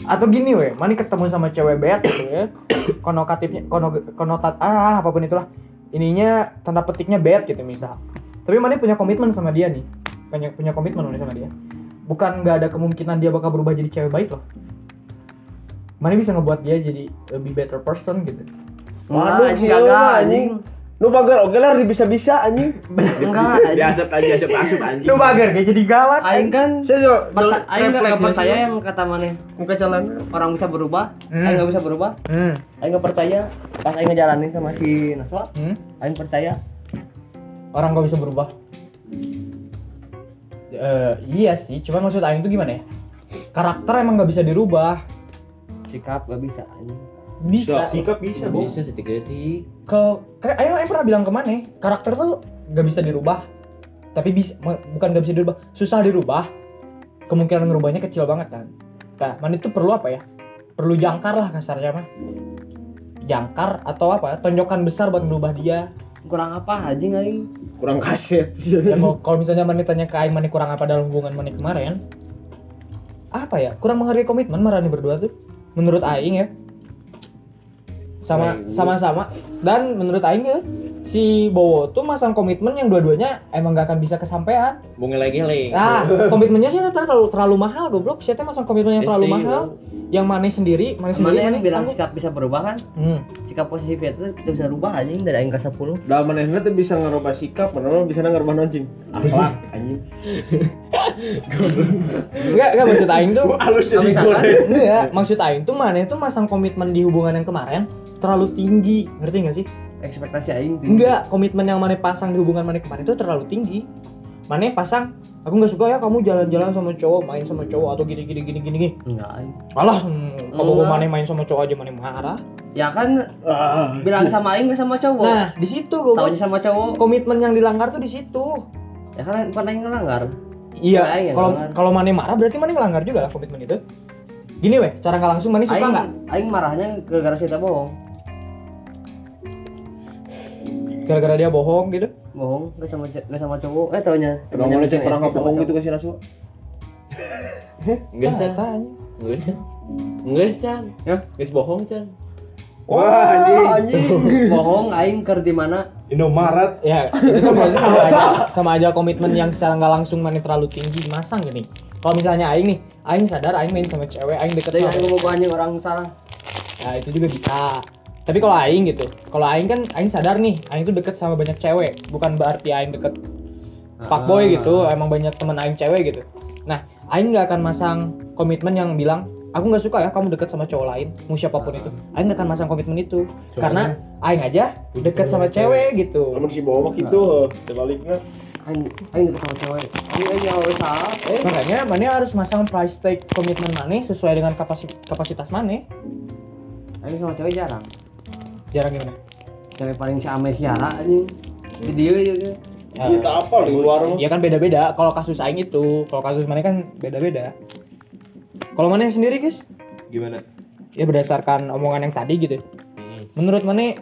A: Atau gini weh, mana ketemu sama cewek beat gitu ya. Konotatifnya kono- konotat ah apapun itulah. Ininya tanda petiknya beat gitu misal. Tapi mana punya komitmen sama dia nih. Punya punya komitmen mana sama dia. Bukan nggak ada kemungkinan dia bakal berubah jadi cewek baik loh. Mana bisa ngebuat dia jadi lebih better person gitu.
C: Enggak, anjing, kagak, anjing.
E: Lu bagar oke lah bisa-bisa anjing.
C: enggak anjing.
D: Dia asap aja asap asup anjing.
A: Lu bager kayak jadi galak.
C: aing kan
E: Saya
C: perca- aing nggak percaya yang kata maneh
E: ya, muka jalan.
C: orang bisa berubah
A: Hmm.
C: aing nggak bisa berubah
A: Hmm.
C: aing nggak percaya pas aing ngejalanin sama si Naswa
A: hmm.
C: aing percaya
A: Orang gak bisa berubah. Eh, iya sih, cuman maksud Aing tuh gimana ya? Karakter emang gak bisa dirubah.
C: sikap gak bisa anjing
A: Bisa.
B: Sikap bisa, Bo.
F: Bisa detik-detik.
A: Ke, ke- Aing, Aing pernah bilang kemana? Karakter tuh gak bisa dirubah. Tapi bisa, ma- bukan gak bisa dirubah, susah dirubah. Kemungkinan ngerubahnya kecil banget kan. Nah, mana itu perlu apa ya? Perlu jangkar lah kasarnya mah. Jangkar atau apa? Tonjokan besar buat merubah dia.
C: kurang apa anjing aing
E: Kurang kasih.
A: Ya, kalau- kalau misalnya Mani tanya ke Aing Mani kurang apa dalam hubungan Mani kemarin apa ya kurang menghargai komitmen Marani berdua tuh menurut Aing ya sama sama sama dan menurut Aing ya, si Bowo tuh masang komitmen yang dua-duanya emang gak akan bisa kesampaian
F: Mau ngeleng-ngeleng.
A: ah komitmennya sih terlalu terlalu mahal goblok sih teh masang komitmen yang
F: Eh,
A: terlalu
F: sih,
A: mahal yang Mani sendiri Mani sendiri
C: mana yang
A: Mani
C: bilang
A: sanggup.
C: sikap bisa berubah kan
A: Hmm.
C: sikap positif itu kita bisa rubah anjing dari aing ke 10
E: Dalam manehna teh bisa ngerubah sikap, mana bisa ngerubah anjing. Akhlak anjing.
A: Enggak, enggak maksud Aing tuh.
E: halus jadi
C: kan?
A: Misalkan,
E: goreng.
A: Enggak, maksud Aing tuh mana itu masang komitmen di hubungan yang kemarin terlalu tinggi, ngerti nggak sih?
C: ekspektasi aing tinggi.
A: Enggak, komitmen yang mana pasang di hubungan mana kemarin itu terlalu tinggi. Mana pasang, aku nggak suka ya kamu jalan-jalan sama cowok, main sama cowok atau gini gini gini gini. gini.
C: enggak aing
A: Alah, hmm, kamu
C: Enggak.
A: mana main sama cowok aja mana marah.
C: ya kan
E: Ah,
C: bilang sama aing gak sama cowok
A: Nah, di situ
C: taunya
A: gue
C: sama cowok
A: komitmen yang dilanggar tuh di situ.
C: ya kan pernah aing ngelanggar Aing
A: Iya,
C: yang
A: kalau
C: ngelanggar.
A: kalau mana marah berarti mana ngelanggar juga lah komitmen itu. Gini weh, cara nggak langsung mana suka
C: aing,
A: nggak?
C: aing marahnya gara-gara si Eta bohong
A: Gara-gara dia bohong gitu.
C: bohong gak sama gak sama cowok eh taunya
E: Kenapa mana cek orang ngebohong gitu ke si Naswa?
F: Enggak sih.
A: Ah, tanya.
F: Enggak sih. Enggak sih, Chan.
C: Ya?
F: Guys bohong, Chan.
E: Wah, anjing.
C: bohong aing ker di mana
B: Indomaret.
A: Ya, itu kan berarti sama aja sama aja komitmen yang secara nggak langsung mana terlalu tinggi masang gini. Kalau misalnya aing nih, aing sadar aing main sama cewek, aing deket
C: tadi aing
A: sama.
C: ngomong ke anjing orang salah
A: Nah, itu juga bisa. Tapi kalau aing gitu, kalau aing kan aing sadar nih, aing tuh deket sama banyak cewek, bukan berarti aing deket fuckboy gitu, emang banyak temen aing cewek gitu. Nah, aing nggak akan masang komitmen yang bilang aku nggak suka ya kamu deket sama cowok lain, mau siapapun itu. Aing nggak akan masang komitmen itu karena aing aja deket sama cewek gitu.
E: Lamun si bawa gitu, sebaliknya.
C: aing aing deket sama cewek aing aing yang orang salah
A: Eh, Makanya Mane harus masang price tag komitmen Mane sesuai dengan kapasi- kapasitas Mane.
C: aing sama cewek jarang
A: Jarang gimana?
C: cewek paling si ame siara anjing di dia gitu
E: Kita apa di luar mah?
A: Ya kan beda-beda. Kalau kasus Aing itu, kalau kasus Mane kan beda-beda. Kalau Mane sendiri guys,
B: Gimana?
A: ya berdasarkan omongan yang tadi gitu. Menurut Mane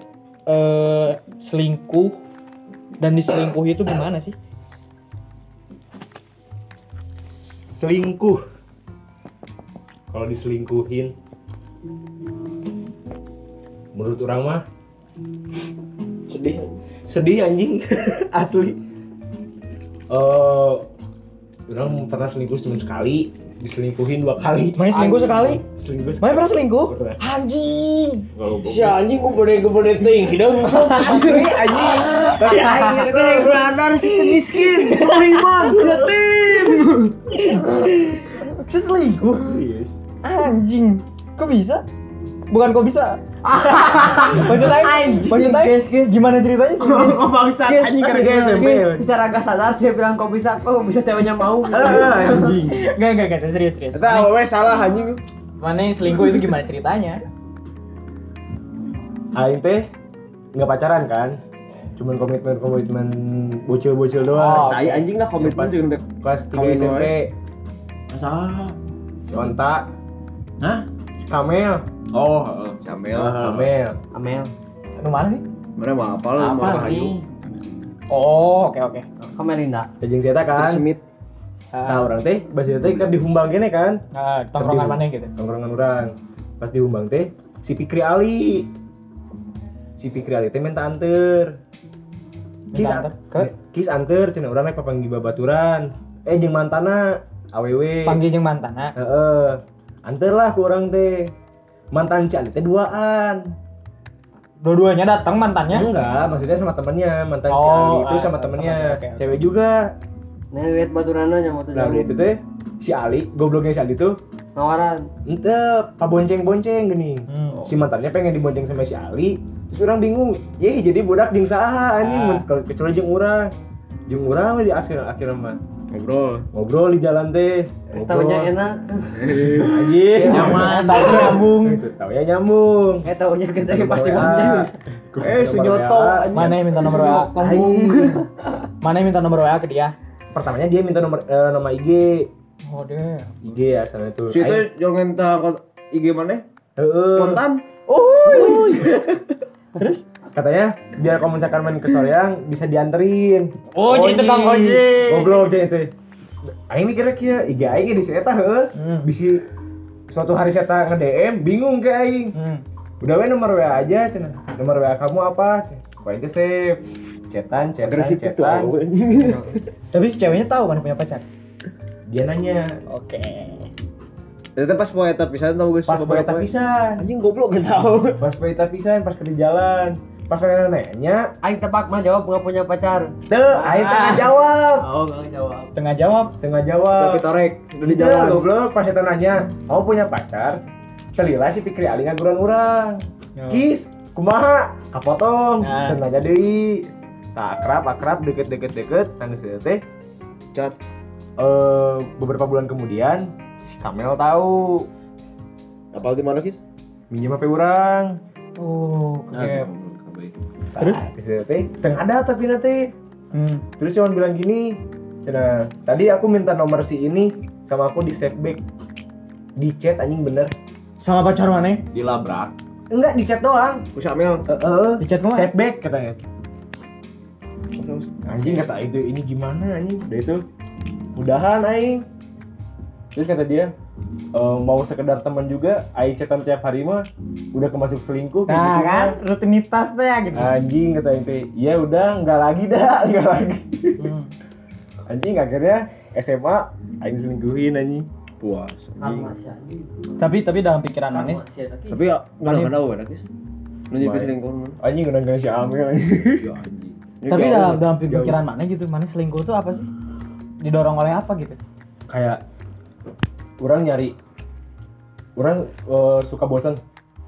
A: eh, selingkuh dan diselingkuhi itu gimana sih?
B: Selingkuh. Kalau diselingkuhin menurut orang mah
E: Sedih.
B: sedih anjing asli eh orang pernah selingkuh cuma sekali diselingkuhin dua kali
A: Mane selingkuh sekali?
B: selingkuh sekali
A: Mane pernah selingkuh?
B: Pernah.
A: Anjing.
E: Si anjing gubernur-gubernur ting hidung.
B: asli anjing tapi anjing benar sih miskin terima yatim
A: Selingkuh?
B: serius
A: Anjing. Kok bisa? Bukan kok bisa, Maksud aing,
C: Anjing,
A: maksud aing,
C: guys, guys.
A: gimana ceritanya sih? guys?
E: Oh bangsa anjing karena gaya SMP.
C: Guys, secara gak sadar sih bilang kok bisa kok bisa ceweknya mau
E: Ah, Anjing.
A: Enggak, enggak, enggak, serius, serius.
E: Kita awewe salah anjing.
A: Mana yang selingkuh itu gimana ceritanya?
B: Aing teh nggak pacaran kan? Cuman komitmen komitmen bocil-bocil
A: Oh.
B: doang.
E: Tai anjing lah komitmen
B: Pas,
E: sih udah.
B: kelas 3
E: Kawin
B: SMP,
D: Masalah.
B: Sonta,
D: Hah?
B: Kamel,
D: Oh, heeh, Camel.
E: Ah.
B: Kamel.
C: Amel
A: Anu mana sih?
F: Mana mau apa lu?
D: Apa
F: Mau
D: nih?
F: Rahayu?
A: Oh, oke oke.
C: Kamelinda
B: Jajeng Zeta
E: Terus
B: kan.
E: Smith.
B: Nah, orang teh bahasa teh kan dihumbang gini kan.
A: Nah, tongkrongan
B: Tapi-
A: mana gitu.
B: Tongkrongan orang. Pas dihumbang teh si Pikri Ali. Si Pikri Ali teh minta anter. Kis
A: Minta anter ke?
B: Kis anter cenah urang naik papanggi babaturan. Eh jeung mantana awewe.
A: Panggil jeung mantan. Nah.
B: Heeh. Anter lah ku orang teh. Mantan si Ali teh duaan.
A: Dua-duanya datang mantannya.
B: Enggak, maksudnya sama temennya, mantan
A: Ya?
B: si
A: Oh,
B: Ali itu
A: ah,
B: sama
A: sama
B: temennya,
A: temennya, oke, oke.
B: cewek juga.
C: Nah, lihat baturan aja mau tuh
B: Nah, udah
C: jauh
B: itu teh si Ali, gobloknya si Ali tuh
C: Nawaran
B: ente pabonceng-bonceng gini.
A: Hmm.
B: Oh. Si mantannya pengen dibonceng sama si Ali, terus orang bingung. Ye, jadi budak jeung saha anjing
A: Ah.
B: mun- kalau kecuali jeung urang. Jeung urang we di akhir akhir mah.
F: Ngobrol.
B: Ngobrol di jalan teh.
C: Eh,
A: Eh,
C: Taunya enak
B: Anjing,
A: Nyaman, tapi nyambung.
B: Tahu ya nyambung. ya.
C: Eh taunya gede pasti
B: Nomor
C: bonceng
B: WA.
E: Eh, si Nyoto,
B: Nomor WA.
A: ya. Mana yang minta nomor ya? WA?
B: Anjing.
A: Mana yang minta nomor WA ke dia?
B: Pertamanya dia minta nomor eh, nama IG.
A: Oh, deh.
B: IG ya sana itu.
E: Si itu jangan minta kontak IG mana?
B: Heeh.
E: Spontan.
B: Uhuy. Terus katanya biar kalau misalkan main ke Soreang bisa dianterin.
A: Oh, jadi tukang ojek.
B: Goblok jadi itu. Aing mikirnya kia IG aing di eta heuh.
E: Hmm.
B: Bisi suatu hari saya nge-DM bingung ke aing.
A: Hmm.
B: Udah we nomor WA aja cenah. Nomor WA kamu apa? Cenah. Poin ke save. Cetan, cetan,
E: Agresif itu
B: cetan.
E: awewe, anjing.
A: Tapi si ceweknya tahu mana punya pacar.
B: Dia nanya,
E: Oh,
A: Oke.
E: Ternyata pas mau etap pisan tau guys.
B: "Pas
E: Sama
B: poe eta
E: berapa?
B: pisan."
E: Anjing goblok gak tau.
B: Pas poe eta pisan pas ke di jalan. Pas pengen nanya,
C: Aing tebak mah jawab gak punya pacar
B: "Teu, aing teh ngajawab."
C: Oh gak jawab
A: Tengah jawab.
B: Tengah jawab.
E: Tapi torek udah di
B: Iya,
E: jalan.
B: goblok pas itu nanya, kamu punya pacar? Celila si pikir ali ngaguran urang.
A: Ya.
B: Kis, kumaha? Kapotong.
A: Nah.
B: Nah. aja deui. Tak akrab, akrab, deket-deket deket, tangis itu teh.
E: Cat.
B: Eh, beberapa bulan kemudian si Kamel tahu
E: Apal di mana, Kis?
B: minjem HP urang.
A: Oh, oke.
B: Nah, Terus itu teh Nah, teng ada tapi nanti.
A: Hmm.
B: Terus cuman bilang gini, Cina, tadi aku minta nomor si ini sama aku di save back di chat anjing bener
A: Sama pacar mana?
F: Dilabrak.
B: enggak di chat doang
E: Ku Syamil.
B: Eh, eh,
A: Di chat mana?
B: Set back katanya. Anjing kata itu ini gimana anjing? Udah itu mudahan aing. Terus kata dia "Eh, mau sekedar teman juga, aing chatan tiap hari mah udah kemasuk selingkuh kayak
A: Nah
B: gitu
A: kan rutinitas teh
B: mah."
A: gitu.
B: Anjing kata itu, ya udah nggak lagi dah, nggak lagi.
A: Hmm.
B: Anjing akhirnya SMA aing selingkuhin anjing.
E: Puas.
C: Karma sih anjing.
A: Tapi tapi dalam pikiran
C: Karma
A: manis
C: sih tapi
E: Tapi ya mana ada wae, Kis. Nu jadi selingkuh. mana?
B: Anjing udah nggak si Amel anjing.
D: Ya anjing.
A: Tapi
E: Jauh.
A: dalam dalam pikiran mana gitu, mana selingkuh tuh apa sih? Didorong oleh apa gitu?
B: kayak orang nyari orang eh, suka bosan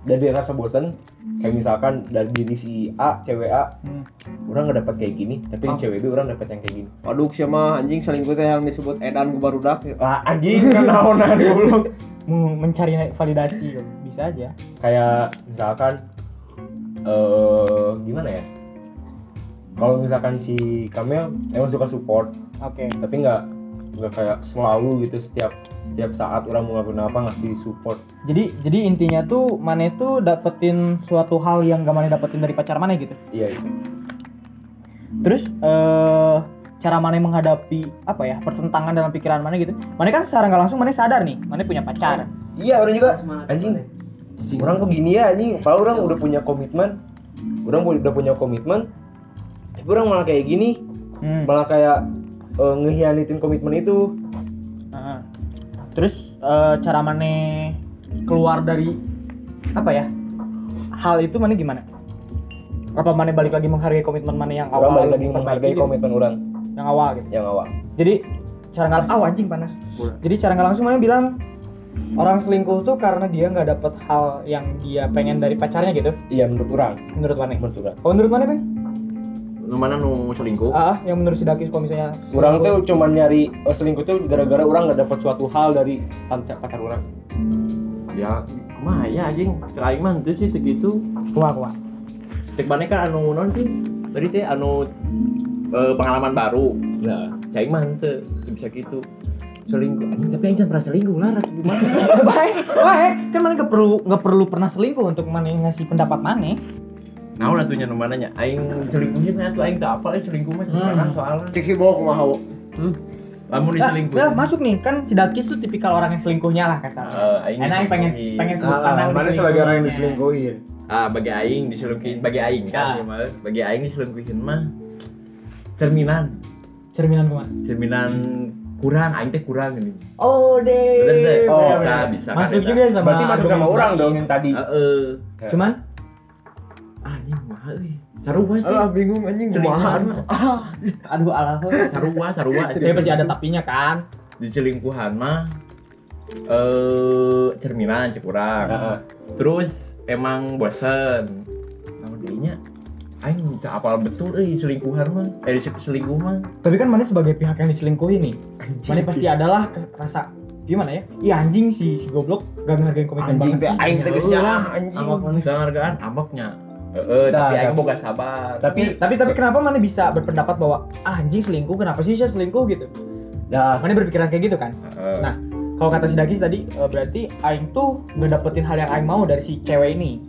B: dari rasa bosan kayak misalkan dari diri si A cewek A
A: Hmm.
B: orang nggak dapat kayak gini tapi di cewek B orang dapat yang kayak gini
E: Waduh, siapa anjing selingkuh teh yang disebut edan ku barudak.
B: lah Ah, anjing kenaonan goblok
A: Mau mencari validasi gitu. bisa aja.
B: kayak misalkan eh gimana ya kalau misalkan si Kamel emang suka support
A: Oke.
B: tapi nggak nggak kayak selalu gitu setiap setiap saat orang mau ngelakuin apa ngasih support
A: Jadi jadi intinya tuh mana tuh dapetin suatu hal yang gak mana dapetin dari pacar mana gitu.
B: iya itu
A: Terus eh cara mana menghadapi apa ya pertentangan dalam pikiran mana gitu? Mana kan secara nggak langsung mana sadar nih, mana punya pacar.
B: iya orang juga anjing orang kok gini ya anjing kalau orang udah punya komitmen orang pu- udah punya komitmen tapi orang malah kayak gini
A: Hmm.
B: malah kayak eh, ngehianatin komitmen itu
A: Heeh. Terus eh, cara mana keluar dari apa ya hal itu mana gimana? Apa mana balik lagi menghargai komitmen mana yang
B: orang
A: awal
B: balik lagi menghargai
A: gitu?
B: komitmen orang
A: yang awal gitu.
B: yang awal
A: Jadi cara nggak oh, anjing panas. Jadi cara nggak langsung mana bilang orang selingkuh tuh karena dia nggak dapet hal yang dia pengen dari pacarnya gitu
B: iya menurut orang
A: menurut mana
B: menurut orang
A: kalau menurut mana Peng?
D: Lu mana nu selingkuh?
A: ah ah, yang menurut si Dakis kalau misalnya
B: orang tuh cuma nyari eh, selingkuh tuh gara-gara orang nggak dapat suatu hal dari pacar pacar orang
D: Ya, mah ya anjing. Cek aing mah henteu sih teu gitu.
A: kuah kuah
D: Cek mana kan anu non sih? Tadi teh anu eh, pengalaman baru. Nah, cek aing mah henteu Teu bisa gitu. Selingkuh. Anjing, tapi aing jangan pernah selingkuh lah, Rat. gimana?
A: Baik, baik. Kan mana nggak perlu nggak perlu pernah selingkuh untuk mana ngasih pendapat mana.
D: Nah, lah tuh nya nu mananya. Aing selingkuhnya nya tuh aing teu apal aing selingkuh mah
A: Hmm. Eh,
D: pernah soalnya.
E: Cek si bawa kumaha wo.
D: Lamun diselingkuh.
A: Nah, masuk nih kan si Dakis tuh tipikal orang yang selingkuhnya lah kasar.
D: Eh, aing
A: Enak yang pengen
D: diselingkuhin.
A: pengen sudut pandang
E: Ah, Mana sebagai orang yang
A: diselingkuhinnya.
E: diselingkuhin.
D: ah bagi aing diselingkuhin bagi aing
A: Ah.
D: kan ya, Mal. bagi aing diselingkuhin mah cerminan
A: Cerminan kemana?
D: cerminan kurang aing teh kurang ini
A: Oh deh.
D: Bener deh.
B: Oh,
D: bisa, bisa, kan,
A: iya, Masuk
D: Eta.
A: juga ya. sama. Iya,
B: berarti masuk sama orang dong yang tadi
D: heeh
A: Cuman
D: Ah, anjing mah euy sarua sih
E: Alah bingung Eh, anjing
D: selingkuhan
E: kumaha.
D: mah ah
C: aduh alah
D: sarua sarua sih.
A: dia pasti ada tapinya kan.
D: diselingkuhan mah eh cerminan cek kurang
B: Heeh.
D: terus emang bosen namun dia nya aing teu apal betul euy selingkuhan mah eh selingkuh mah
A: Tapi kan mana sebagai pihak yang diselingkuhi nih. Mana
D: anjing
A: pasti adalah ke- rasa gimana ya? Iya anjing si si goblok gak ngehargain komitmen
D: anjing teh
A: banget.
D: aing teh geus nyalah anjing
C: Ambak mana?
D: penghargaan ambaknya heeh
B: Nah,
D: tapi aing
B: tapi-
D: boga sabar
B: tapi
A: Iya, Tapi tapi kenapa mana bisa berpendapat bahwa ah, anjing selingkuh kenapa sih saya selingkuh gitu?
B: nah
A: Mana berpikiran kayak gitu kan?
D: Heeh.
A: Nah, kalau kata si Dagis tadi eh, berarti aing tuh ngedapetin hal yang aing mau dari si cewek ini.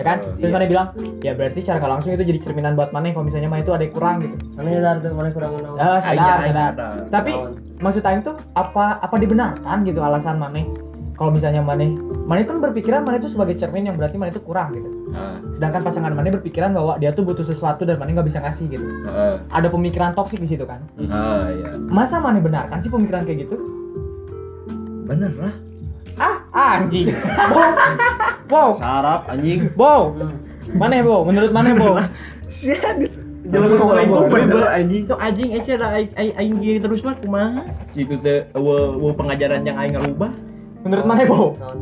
A: Ya kan?
D: Eh,
A: Terus
D: iya.
A: mana bilang, ya berarti secara nggak langsung itu jadi cerminan buat mana kalau misalnya mah itu ada yang kurang gitu.
C: mana sadar tuh mana kurang kenal
A: Ah,
D: Aing-
A: sadar,
D: aing
A: sadar.
D: sadar.
A: Tapi
C: Lawan.
A: maksud aing tuh apa apa dibenarkan gitu alasan mana? Kalau misalnya mana mana kan berpikiran mana itu sebagai cermin yang berarti mana itu kurang gitu.
D: Nah,
A: Sedangkan pasangan mana berpikiran bahwa dia tuh butuh sesuatu dan mana nggak bisa ngasih gitu.
D: heeh.
A: Ada pemikiran toksik di situ kan.
D: ah iya
A: Masa mana benarkan sih pemikiran kayak gitu?
D: bener lah
A: Ah, anjing. Wow. wow.
E: Sarap anjing.
A: Wow, mana Bo? Menurut mana Bo?
E: Jalan
A: Jalan selingkuh,
E: bener anjing.
D: itu anjing eh ada aing aing aing gieu terus mah kumaha itu teh eueuh eueuh pengajaran yang aing ngarubah
A: Menurut mana Bo?
C: Lawan.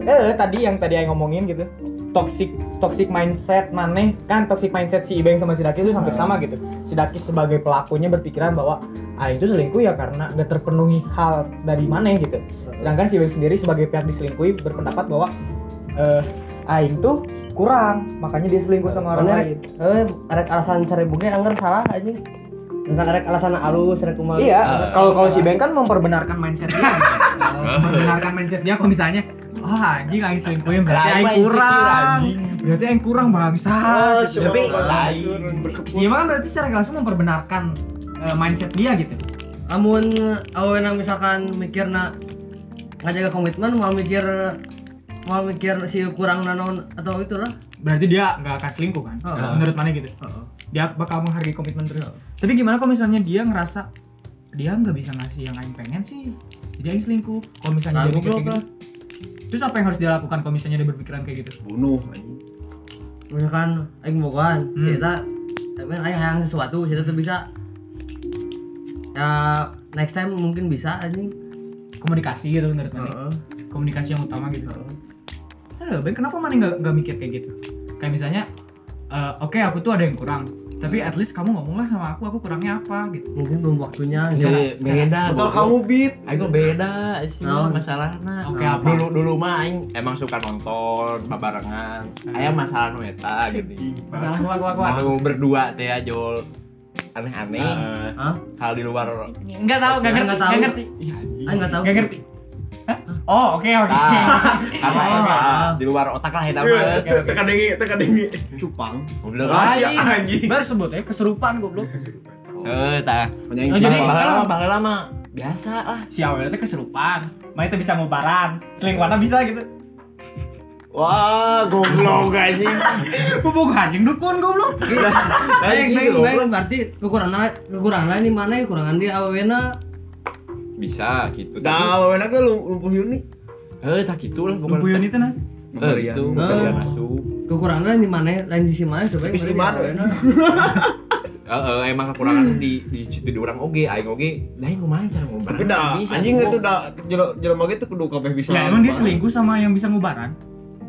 A: Eh, tadi yang tadi yang ngomongin gitu. Toxic toxic mindset mana? Kan toxic mindset si Ibeng sama si Dakis itu sampai sama gitu. Si Dakis sebagai pelakunya berpikiran bahwa ah itu selingkuh ya karena gak terpenuhi hal dari mana gitu. Sedangkan si Ibeng sendiri sebagai pihak diselingkuhi berpendapat bahwa eh Aing tuh kurang, makanya dia selingkuh sama orang
C: Bener.
A: lain.
C: eh arek alasan cari buge anggar salah anjing bukan arek alasan alus arek
F: Ah.
C: kumaha
A: Iya, kalau kalau si Beng kan memperbenarkan mindset dia. memperbenarkan mindset dia kalau misalnya ah anjing aing selingkuhin berarti
F: Lah,
A: aing
F: emang insecure,
A: kurang.
F: anjing. Oh,
A: Berarti aing kurang bangsa. Gitu. Tapi
F: lain
A: si Beng kan berarti secara nggak langsung memperbenarkan eh, mindset dia gitu.
C: amun awena misalkan mikir na ngajaga komitmen mau mikir mau mikir si kurang nanon atau itulah
A: Berarti dia nggak akan selingkuh kan?
F: Oh.
C: Heeh.
A: Menurut mana gitu? Dia bakal menghargai komitmen terus. Tapi gimana kalau misalnya dia ngerasa dia nggak bisa ngasih yang aing pengen sih? Jadi aing selingkuh. Kalau misalnya
C: Nah,
A: dia
C: mikir
A: goblok
C: kayak
A: lah. Terus apa yang harus dia lakukan kalau misalnya dia berpikiran kayak gitu?
E: Bunuh anjing.
C: misalkan aing bogohan
A: Hmm.
C: si eta tapi aing hayang sesuatu si eta tuh bisa ya next time mungkin bisa anjing
A: Komunikasi gitu menurut mana?
C: Heeh.
A: komunikasi yang utama gitu. Eh, Ben kenapa mana nggak nggak mikir kayak gitu? Kayak misalnya, eh, oke aku tuh ada yang kurang, tapi at least kamu ngomonglah sama aku, aku kurangnya apa gitu.
C: mungkin belum waktunya
A: Secara-
C: gitu.
D: Jadi beda
E: Motor
D: goblok.
E: kamu beat.
D: Aing mah beda sih
C: Naon?
D: masalahna.
A: Oh. Oke, apa?
D: Dulu dulu mah aing emang suka nonton babarengan.
A: Hmm.
D: Aya masalah nu eta gitu.
A: Masalah gua gua gua.
D: Anu berdua teh ya, Jol. Aneh-aneh.
C: Hah?
D: Kalau di luar
A: Oh. Enggak tahu, enggak ngerti,
C: Nggak tahu.
A: enggak ngerti.
C: Aing nggak tahu Ah.
A: Enggak ngerti. Hah? Oh, oke oke.
D: Tah, karena
C: Oh.
D: eta, di luar otak lah eta mah.
E: Tekan dengi, tekan dengi. Cupang.
A: Oh,
D: Udah lain
E: anjing.
A: Baru sebut ya keserupaan goblok.
D: Eh, tah.
A: Oh, jadi
D: Baheula
A: kalau
D: mah baheula mah biasa lah.
A: si awalnya teh keserupaan, main teh bisa ngobaran, selingkuhanna bisa gitu.
E: Wah, goblok anjing.
A: Bubuk anjing dukun goblok.
C: Baik,
E: Anjing,
C: baik, baik.
E: goblok.
C: Berarti kekurangan kekurangan ini mana ya? Kekurangan di awena.
D: Bisa gitu. Tapi
E: Nah, wawena ke lumpuh Yuni.
D: eh tah gitulah bukan.
A: Lumpuyeun itu nah. Oh.
D: Eh, itu
C: Eh.
D: kasihan asup.
C: ya? Kekurangan di mana? Lain sisi mana coba?
E: Sisi mana?
C: awena.
G: eh, eh, emang
B: Hmm.
G: kekurangan di di, di, di orang oge aing oge da aing kumaha cara ngomong
E: Beda, anjing itu udah jelema gitu kudu kabeh bisa.
A: Ya emang dia selingkuh sama yang bisa ngubaran.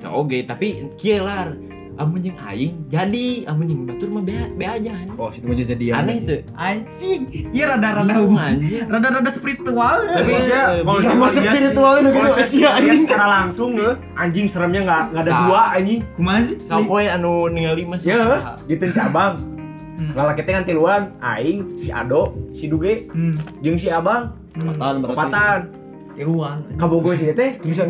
G: oge tapi kieu lar amun jeung aing jadi amun jeung batur mah be, be aja anjing.
E: Oh, situ mah jadi
G: aneh teu
A: Anjing, iya rada-rada
G: Bingung,
A: hubungan.
G: anjing
A: Rada-rada spiritual.
E: Tapi sia kalau
B: Iya,
E: si
B: masa
E: Matias
B: spiritualnya udah gitu,
E: kalau si
B: sia,
E: Matias
B: anjing.
E: secara langsung
B: ya.
E: eh, anjing seremnya nggak nggak ada
G: Nah.
E: dua anjing.
A: Kumaha sih?
G: Sapoe anu ningali mas
B: Ya, gitu si Abang.
A: Hmm.
B: Lalaki teh kan tiluan, aing, si Ado, si Duge,
A: Hmm.
B: jeung si Abang,
E: Patan,
B: kepatan.
C: Iruan.
B: Kabogo sih teh bisa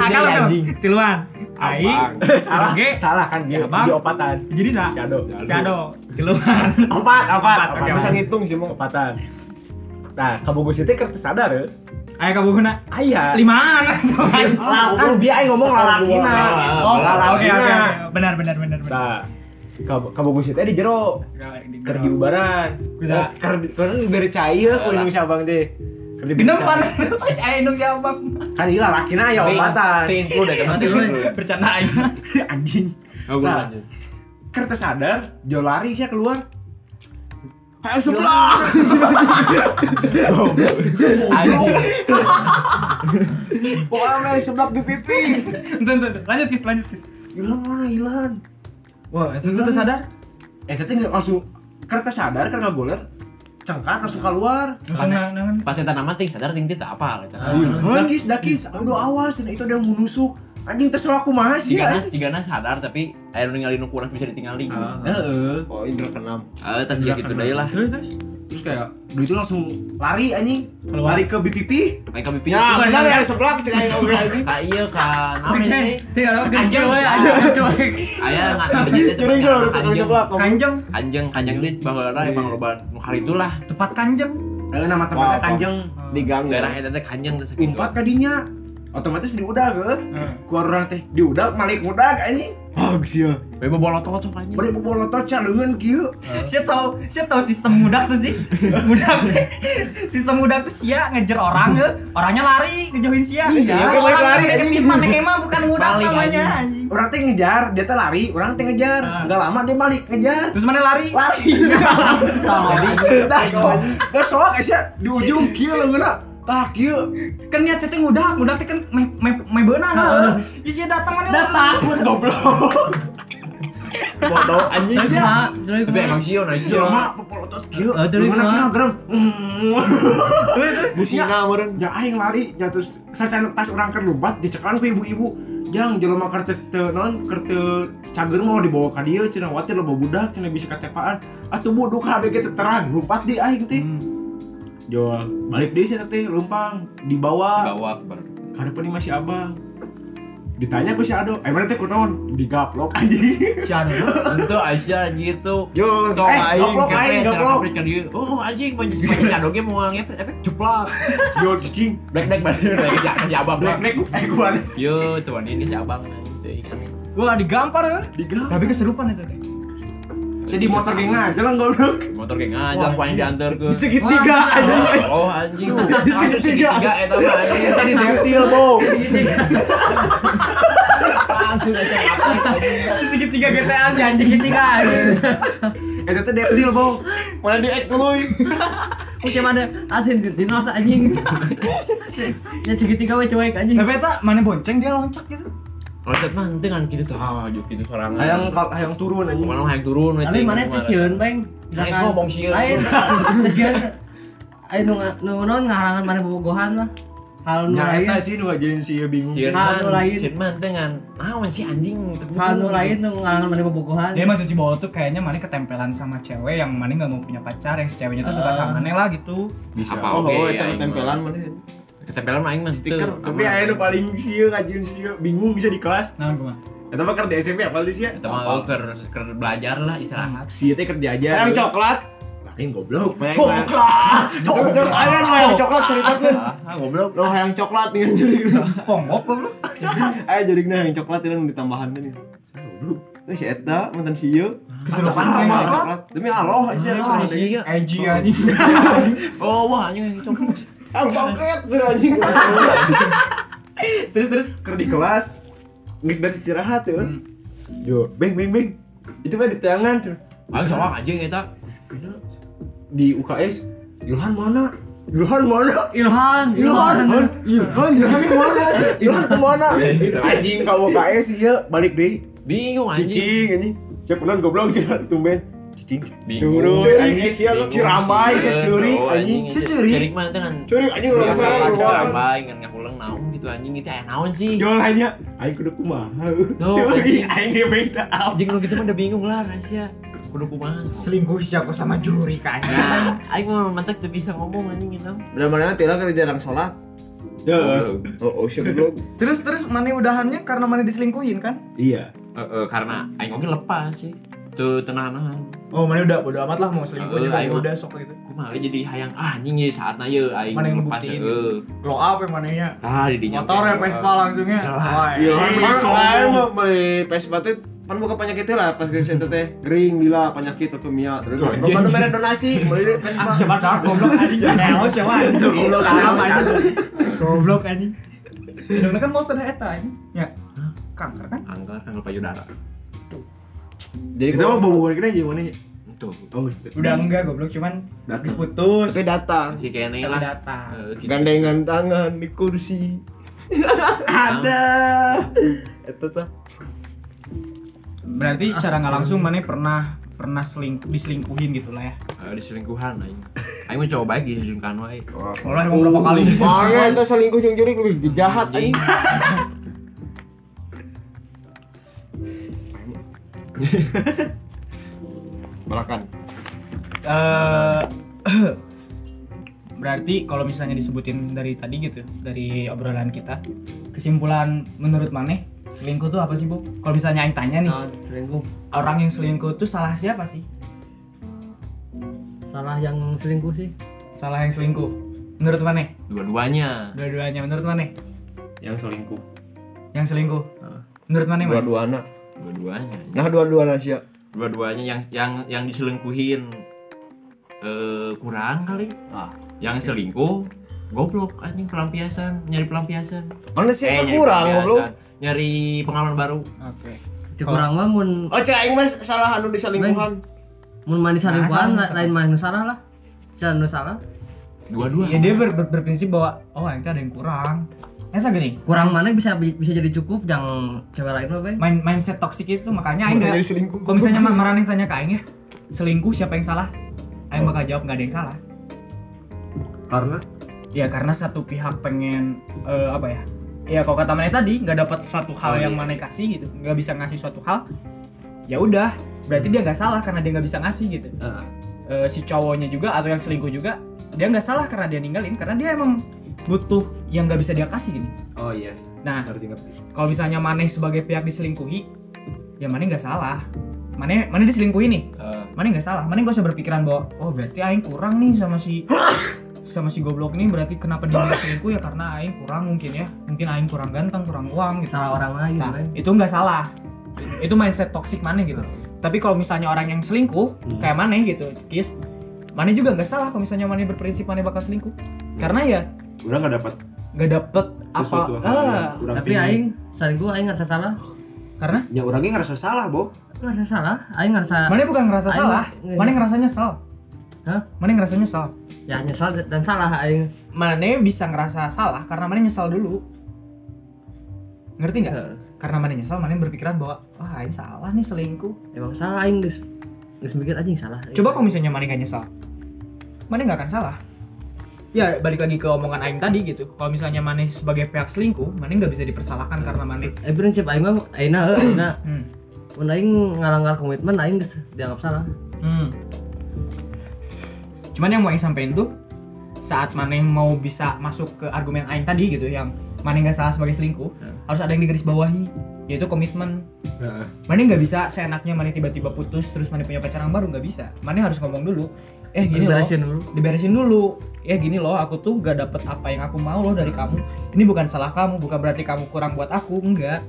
A: Akal dong. Tiluan. Aing,
B: salah,
A: Oge,
B: salah kan
A: si
B: dia
A: Abang.
B: dia opatan.
A: jadi sa.
B: Si Ado.
A: Si Ado. Tiluan.
B: Opat, opat,
A: Opat,
B: opat.
A: oke,
B: Bisa
A: opat.
B: ngitung sih mau opatan. Nah, kabogo sih teh kertas sadar ya.
A: Ayo kamu guna.
B: Aya.
A: Limaan.
B: Nah, kan dia aing ngomong lalakina.
A: Oh, oke
B: lalakina.
A: oke. Benar benar benar benar.
B: Nah, kab- kabogo sih teh di jero keur di ubaran.
A: Bisa.
B: Nah, keur keur bere cai ya ku indung si Abang teh. Keur di
A: Gendam
B: bere
A: pan.
B: cai.
A: Ayo nung siapa?
B: Kan ieu lalakina aya opatan.
D: Tingklu deh, kenapa tingklu?
A: Bercanda aing.
B: anjing
G: Oh,
B: nah kertas sadar jauh lari sih keluar ayo sebelah pokoknya mel sebelah di pipi
A: Tuh tuh tuh. Lanjut kis lanjut kis.
B: hilang mana hilang
A: Wah, itu tuh sadar.
B: eh tadi nggak langsung kertas sadar karena boler cengkat langsung keluar
A: Langsung nah, nangan.
D: Pas yang tanaman ting sadar ting tidak apa
B: Ah. dakis dakis aduh awas dan itu ada yang mau nusuk anjing terserah aku mah sih
D: Jigana,
B: anjing.
D: jigana sadar tapi air ninggalin ukuran bisa ditinggalin.
B: Ah.
E: Oh, Indra keenam.
D: Eh, tas dia gitu deh lah.
A: Terus terus.
E: Terus kayak
B: Duh itu langsung lari anjing lari ke BPP
D: Main kami pikir.
B: ya
A: Bukan,
B: benar
A: ya.
B: ya sebelah cengkai ngobrol lagi
D: Kak iya kan. Apa
A: Oke.
D: sih?
C: Tiga lo
B: Anjing.
C: kenceng we anjing cuek.
D: Ayah nggak tahu jadi
B: Jadi gue Iya. udah ketemu sebelah Iya.
A: Kanjeng.
D: Kanjeng kanjeng dit bahwa emang loba nu kali itulah
A: Tepat kanjeng.
B: Eh, nama tempatnya
E: Wah,
B: Kanjeng Hmm. di gang
D: daerah eta teh kanjeng teh sakitu.
B: Umpat kadinya otomatis diudag ke keluar orang teh diudag malik udag anjing ah sia
D: We bobolot cocok anjing.
B: bari bobolotot ca leungeun kieu
A: Saya tahu, saya tahu sistem mudak tuh sih. Mudak teh. Sistem mudak tuh sia ngejer orang, eh. orangnya lari, ngejauhin sia.
B: Iya,
A: Kalau
B: balik
A: orang
B: lari,
A: teh
B: anjing.
A: deketin maneh mah bukan mudak
D: Balik,
A: namanya.
D: anjing.
A: anjing.
B: orang teh ngejar dia teh lari orang teh
A: Ah.
B: ngejar enggak lama dia malik ngejar
A: Terus mana lari?
B: lari dah sok dah sok sia di ujung kieu leungeunna tah kieu
A: Kan niat saya teh ngudak, ngudak teh kan meh meh meh beunang. heeh. eh. Ih, sia datang mana? Datang.
B: goblok bodoh anjing sia
C: Terus
D: Tapi emang sio nah sio.
B: jelema bobolotot kieu
C: Eh, terus
B: leungeunna
C: kumaha?
B: kira gerem Hmm.
E: busina meureun.
B: Ya aing lari, ya terus sacana pas orang keur lompat dicekelan ku ibu-ibu. Jang jelema keur teu teu naon keur teu cager mau dibawa ka dieu cenah watir loba budak cenah bisa katepaan. Atuh bodoh ka adeg teu terang lompat di aing teh. Jual balik deui cenah teh lumpang dibawa
G: bawa ke bar.
B: ka depan masih abang. Ditanya ku si Ado, "Eh mana teh kunaon?" Digaplok anjing.
A: Si Ado.
D: Itu Aisyah gitu.
B: Yo,
D: Cowok
B: eh,
D: aing,
B: gaplok
D: kepret,
B: aing,
D: cara
B: gaplok.
D: kepret ke dia. Oh anjing banyak banyak kadoge mau ngepet efek jeplak.
B: Yo cicing.
D: Black black balik lagi si- si abang.
B: Nek nek eh gua nih.
D: Yo tuan ini si abang. anjing.
A: Wah, digampar ya.
B: Digaplok.
A: Tapi keserupan itu teh.
B: Saya di motor geng aja lah goblok.
D: Motor geng aja
A: Wah,
D: paling diantar ke.
B: Di segitiga anjing.
D: Oh anjing.
B: Di segitiga.
D: Tiga eh, eta mah anjing.
B: Tadi reptil, Bong.
D: Langsung aja ngapet, anjing.
A: Segitiga GTA sih anjing.
C: tiga anjing.
B: Eta teh deptil, Bong. Mana di ek tuluy.
C: Kucing ada asin di dinos anjing. Ya segitiga we cuek anjing.
A: Tapi eta mana bonceng dia loncat gitu.
D: Loncat mah henteu kan gitu tuh. Ah, juk gitu sorangan.
B: Hayang kal- hayang turun anjing.
D: Kemana hayang turun
C: Tapi
D: anjing,
C: mana ya? teh
D: kemana.
C: sieun beng?
D: Nangis
C: Misalkan-
D: ngomong sieun.
C: Lain. Teh sieun. Ayo nu nu non ngaharangan mana bobogohan lah. Hal nu
B: Nya
C: lain.
B: eta sih nu ngajain si ieu bingung.
D: Sieun
C: Hal nu
D: man,
C: lain.
D: sieun man teh ngan. Naon si anjing?
C: Hal nu lain nu ngaharangan mana bobogohan.
A: Dia maksud si Bowo tuh kayaknya mana ketempelan sama cewek yang mana nggak mau punya pacar, yang si ceweknya tuh suka sama mana lah gitu.
D: Bisa. Apa
E: Oh,
D: oge
E: oh,
D: aing
E: itu
D: mah.
E: tempelan mana?
D: Ketempelan mah aing mah
E: Stiker,
D: henteu.
B: Tapi aya nu paling si ieu ngajain si ieu bingung bisa di kelas.
A: Nah, gua.
B: Eta mah keur di SMP apal di sia.
D: Eta mah oh, keur keur belajar lah istirahat.
B: Si ieu teh kerja aja.
E: Yang
B: Gitu.
E: coklat.
B: Lain goblok.
E: Coklat.
B: Coklat. Aya nu hayang coklat ceritakeun.
D: Ah, goblok.
E: Lo yang coklat nih anjing.
A: Spongebob goblok.
E: Ayo jadi nah yang coklat ini ditambahan nih. Goblok. Ini si Eta mantan E si Yo.
A: Keserupan gitu.
E: Ah,
A: yang
E: mah,
A: coklat.
E: coklat. Demi Allah sih yang
D: Ah,
E: pernah ada.
D: iya.
A: Eji anjing.
D: Oh, wah anjing yang coklat.
E: Ah, coklat tuh anjing.
B: Terus terus keur di kelas. Geus beres istirahat ya. Yo, beng beng beng. Itu mah di tangan tuh.
H: Ayo soal anjing eta.
B: Pina, di UKS Ilhan mana Ilhan mana
A: Ilhan,
B: Ilhan Ilhan Ilhan Ilhan mana Ilhan kemana anjing kau UKS iya balik deh
H: Bingung anjing.
B: cicing ini siapa pernah goblok jalan tumben cicing
D: Bingung.
B: turun anjing sia lu
D: Bingung,
B: ciramai
D: sih,
B: saya curi
D: bro,
B: anjing
D: anjing,
A: Securi.
D: Cerik mah teh kan.
B: curi anjing orang
D: Biasa
B: sana keluar
D: Ciramai ngan ngapulang naon gitu anjing itu aya naon sih.
B: jual lainnya aing kudu kumaha
D: Tuh,
B: teori aing dia minta apa
D: Anjing lu gitu mah udah bingung lah rahasia. Kudu kumaha.
A: Selingkuh sih aku sama juri kan.
D: Nah, aing mah mantek teu bisa ngomong anjing gitu.
E: Benar-benar tidak kerja jarang sholat.
B: Ya,
E: Oh, oh shit bro.
A: Terus terus mana udahannya karena mana diselingkuhin kan?
B: iya
D: Eh, eh, karena aing mungkin lepas sih. Tuh tenang-tenang.
A: Oh, mana udah bodo amat lah mau selingkuh
D: Eh,
A: juga
D: ayo.
A: ya udah sok gitu.
D: Kumaha jadi hayang ah anjing ye saatna ye aing
A: Mana yang
D: lepas
A: ngebuktiin?
D: heeh.
A: Glow up yang mananya.
D: Tah di dinya.
A: Motor ya Vespa langsungnya. Wah,
E: Iya,
B: Iya,
E: mana main Vespa teh pan kan buka penyakit teh lah pas geus eta teh gering gila penyakit leukemia terus
B: Tuh,
E: loba nu mere donasi meuli
A: Ah,
E: deh Vespa.
A: siapa dah goblok anjing Neo siapa anjing goblok anjing goblok anjing Dona kan motor eta anjing ya kanker kan
D: Angker kan lupa payudara.
E: Jadi
B: kita mau bawa kita aja mana ya
D: Tuh.
B: oh gitu.
A: udah enggak goblok cuman
B: Datang.
A: habis putus
E: tapi datang
D: Si kene
A: tapi
D: lah.
A: datang
D: Eh, gitu.
E: gandengan tangan di kursi.
D: Ada.
E: Eta tah.
A: berarti secara nggak langsung mana pernah pernah seling diselingkuhin gitu lah ya
D: diselingkuhan aing. Aing mah cowok baik diselingkuhan wae.
A: mulai emang berapa kali
E: Mana eta selingkuh jeung jurik lebih jahat
D: Anjing.
E: anjing. Balakan.
A: Eh, berarti kalau misalnya disebutin dari tadi gitu dari obrolan kita kesimpulan menurut Maneh selingkuh tuh apa sih bu? Kalau misalnya Aing tanya nih
C: Nah, selingkuh
A: orang yang selingkuh tuh salah siapa sih?
C: salah yang selingkuh sih
A: Salah yang selingkuh menurut Maneh?
D: Dua-duanya.
A: Dua-duanya menurut Maneh?
B: yang selingkuh
A: Yang selingkuh menurut Maneh? Man?
E: Dua-dua anak.
D: Dua-duanya.
E: Nah, dua-dua anak sia.
D: Dua-duanya yang yang yang diselingkuhin eh kurang kali.
E: Ah.
D: Yang selingkuh goblok anjing pelampiasan, nyari pelampiasan.
E: Mana sih
D: nyari
E: kurang
D: pelampiasan.
E: goblok.
D: Nyari pengalaman baru.
A: Oke.
C: dikurang mah mun
E: Oh, cek aing mah salah anu diselingkuhan.
C: mun manis selingkuhan
A: Nah, salah,
C: la- lain manis salah lah salah nu salah
D: Dua-dua.
A: Ya dia ber- ber- berprinsip bahwa oh Aing teh ada yang kurang. Eta gini
C: kurang mana bisa bisa jadi cukup yang cewek lain mah be
A: main mindset toksik itu makanya Aing nggak. Kalau misalnya Mas Marani tanya ke Aing ya selingkuh siapa yang salah? Aing bakal jawab nggak ada yang salah.
B: karena
A: Ya karena satu pihak pengen eh, apa ya? Ya kalau kata Maneh tadi nggak dapat suatu hal yang Maneh kasih gitu, nggak bisa ngasih suatu hal, ya udah berarti dia nggak salah karena dia nggak bisa ngasih gitu. Eh, si cowoknya juga atau yang selingkuh juga dia nggak salah karena dia ninggalin karena dia emang butuh yang nggak bisa dia kasih gini.
E: Oh iya.
A: Nah
E: Ngerti ngerti.
A: kalau misalnya Maneh sebagai pihak diselingkuhi, ya Maneh nggak salah. Maneh Maneh diselingkuhi nih,
D: Eh,
A: Mana nggak salah, mana gak usah berpikiran bahwa oh berarti aing kurang nih sama si sama si goblok ini berarti kenapa dia nggak selingkuh ya karena aing kurang mungkin ya mungkin aing kurang ganteng kurang uang gitu
C: salah orang lain
A: nah,
C: be
A: itu nggak salah itu mindset toksik mana gitu tapi kalau misalnya orang yang selingkuh kayak mana gitu kis mana juga nggak salah kalau misalnya mana berprinsip mana bakal selingkuh karena ya
B: udah nggak dapat
A: nggak dapet apa
B: sesuatu hal
A: Ah,
B: yang kurang
C: tapi
B: pingin.
C: aing selingkuh aing ngerasa salah
A: karena
B: ya orangnya ngerasa salah bo
C: ngerasa salah aing ngerasa
A: mana bukan ngerasa
C: Aing-
A: salah
C: Iya.
A: mana ngerasa nyesel
C: Hah?
A: mana ngerasa nyesel
C: ya nyesal dan salah aing
A: Mane bisa ngerasa salah karena Mane nyesal dulu ngerti nggak karena Mane nyesal Mane berpikiran bahwa wah ini salah nih selingkuh
C: emang salah aing geus geus mikir anjing salah aing.
A: coba kalau misalnya Mane nggak nyesal Mane nggak akan salah ya balik lagi ke omongan Aing tadi gitu kalau misalnya Mane sebagai pihak selingkuh Mane nggak bisa dipersalahkan karena Mane
C: eh prinsip aing mah aing nah aing nah
A: hmm.
C: mun aing ngalanggar komitmen aing geus dianggap salah
A: Hmm. Cuman yang mau Aing sampein tuh saat Mane mau bisa masuk ke argumen Aing tadi gitu yang Mane nggak salah sebagai selingkuh harus ada yang digaris bawahi yaitu komitmen. Mane nggak bisa seenaknya Mane tiba-tiba putus terus Mane punya pacar yang baru nggak bisa. Mane harus ngomong dulu. Eh gini
C: Diberesin
A: loh.
C: dulu.
A: Diberesin dulu. Ya gini loh, aku tuh gak dapet apa yang aku mau loh dari kamu. Ini bukan salah kamu, bukan berarti kamu kurang buat aku, enggak.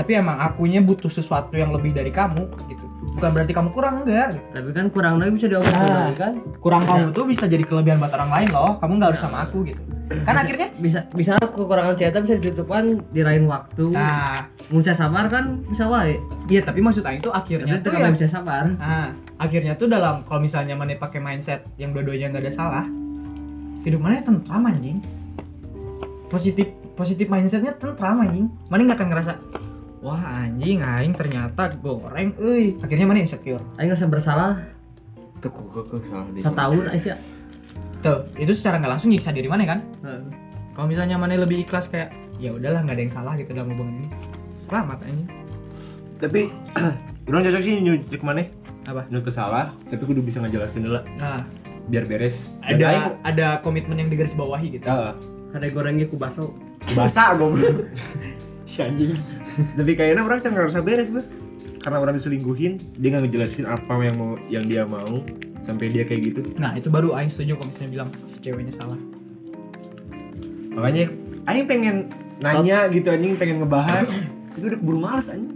A: Tapi emang akunya butuh sesuatu yang lebih dari kamu gitu bukan berarti kamu kurang enggak gitu.
C: tapi kan kurang lagi bisa diobrolin
A: Ah.
C: lagi kan
A: kurang kamu tuh bisa jadi kelebihan buat orang lain loh kamu nggak harus sama aku gitu kan akhirnya
C: bisa bisa kekurangan cerita bisa ditutupkan di lain waktu
A: nah
C: Muncul sabar kan bisa wae
A: iya tapi maksud Aing tuh
C: tapi
A: akhirnya tuh
C: tetap
A: ya
C: bisa sabar
A: nah akhirnya tuh dalam kalau misalnya mana pakai mindset yang dua-duanya nggak ada salah hidup mana tentram anjing positif positif mindsetnya tentram anjing mana nggak akan ngerasa wah anjing aing ternyata goreng euy akhirnya mana insecure
C: aing ngerasa bersalah
I: Tuh, kok kok- kok salah di.
C: setahun aing sih
A: tuh itu secara nggak langsung nyiksa diri mana kan
C: Heeh.
A: kalau misalnya mana lebih ikhlas kayak ya udahlah nggak ada yang salah gitu dalam hubungan ini selamat anjing
B: tapi orang cocok sih nyucik mana
A: Apa?
B: nyucik salah tapi kudu bisa ngejelasin dulu
A: nah
B: biar beres Dan
A: ada
B: aing-
A: ada komitmen yang digarisbawahi gitu
B: Ah,
C: ada gorengnya ku baso
B: basah goblok si anjing tapi kayaknya orang kan ngerasa beres bro karena orang diselingkuhin dia nggak ngejelasin apa yang mau yang dia mau sampai dia kayak gitu
A: nah itu baru Aing setuju kalau misalnya bilang si ceweknya salah
B: makanya Aing pengen nanya gitu anjing pengen ngebahas tapi udah keburu males anjing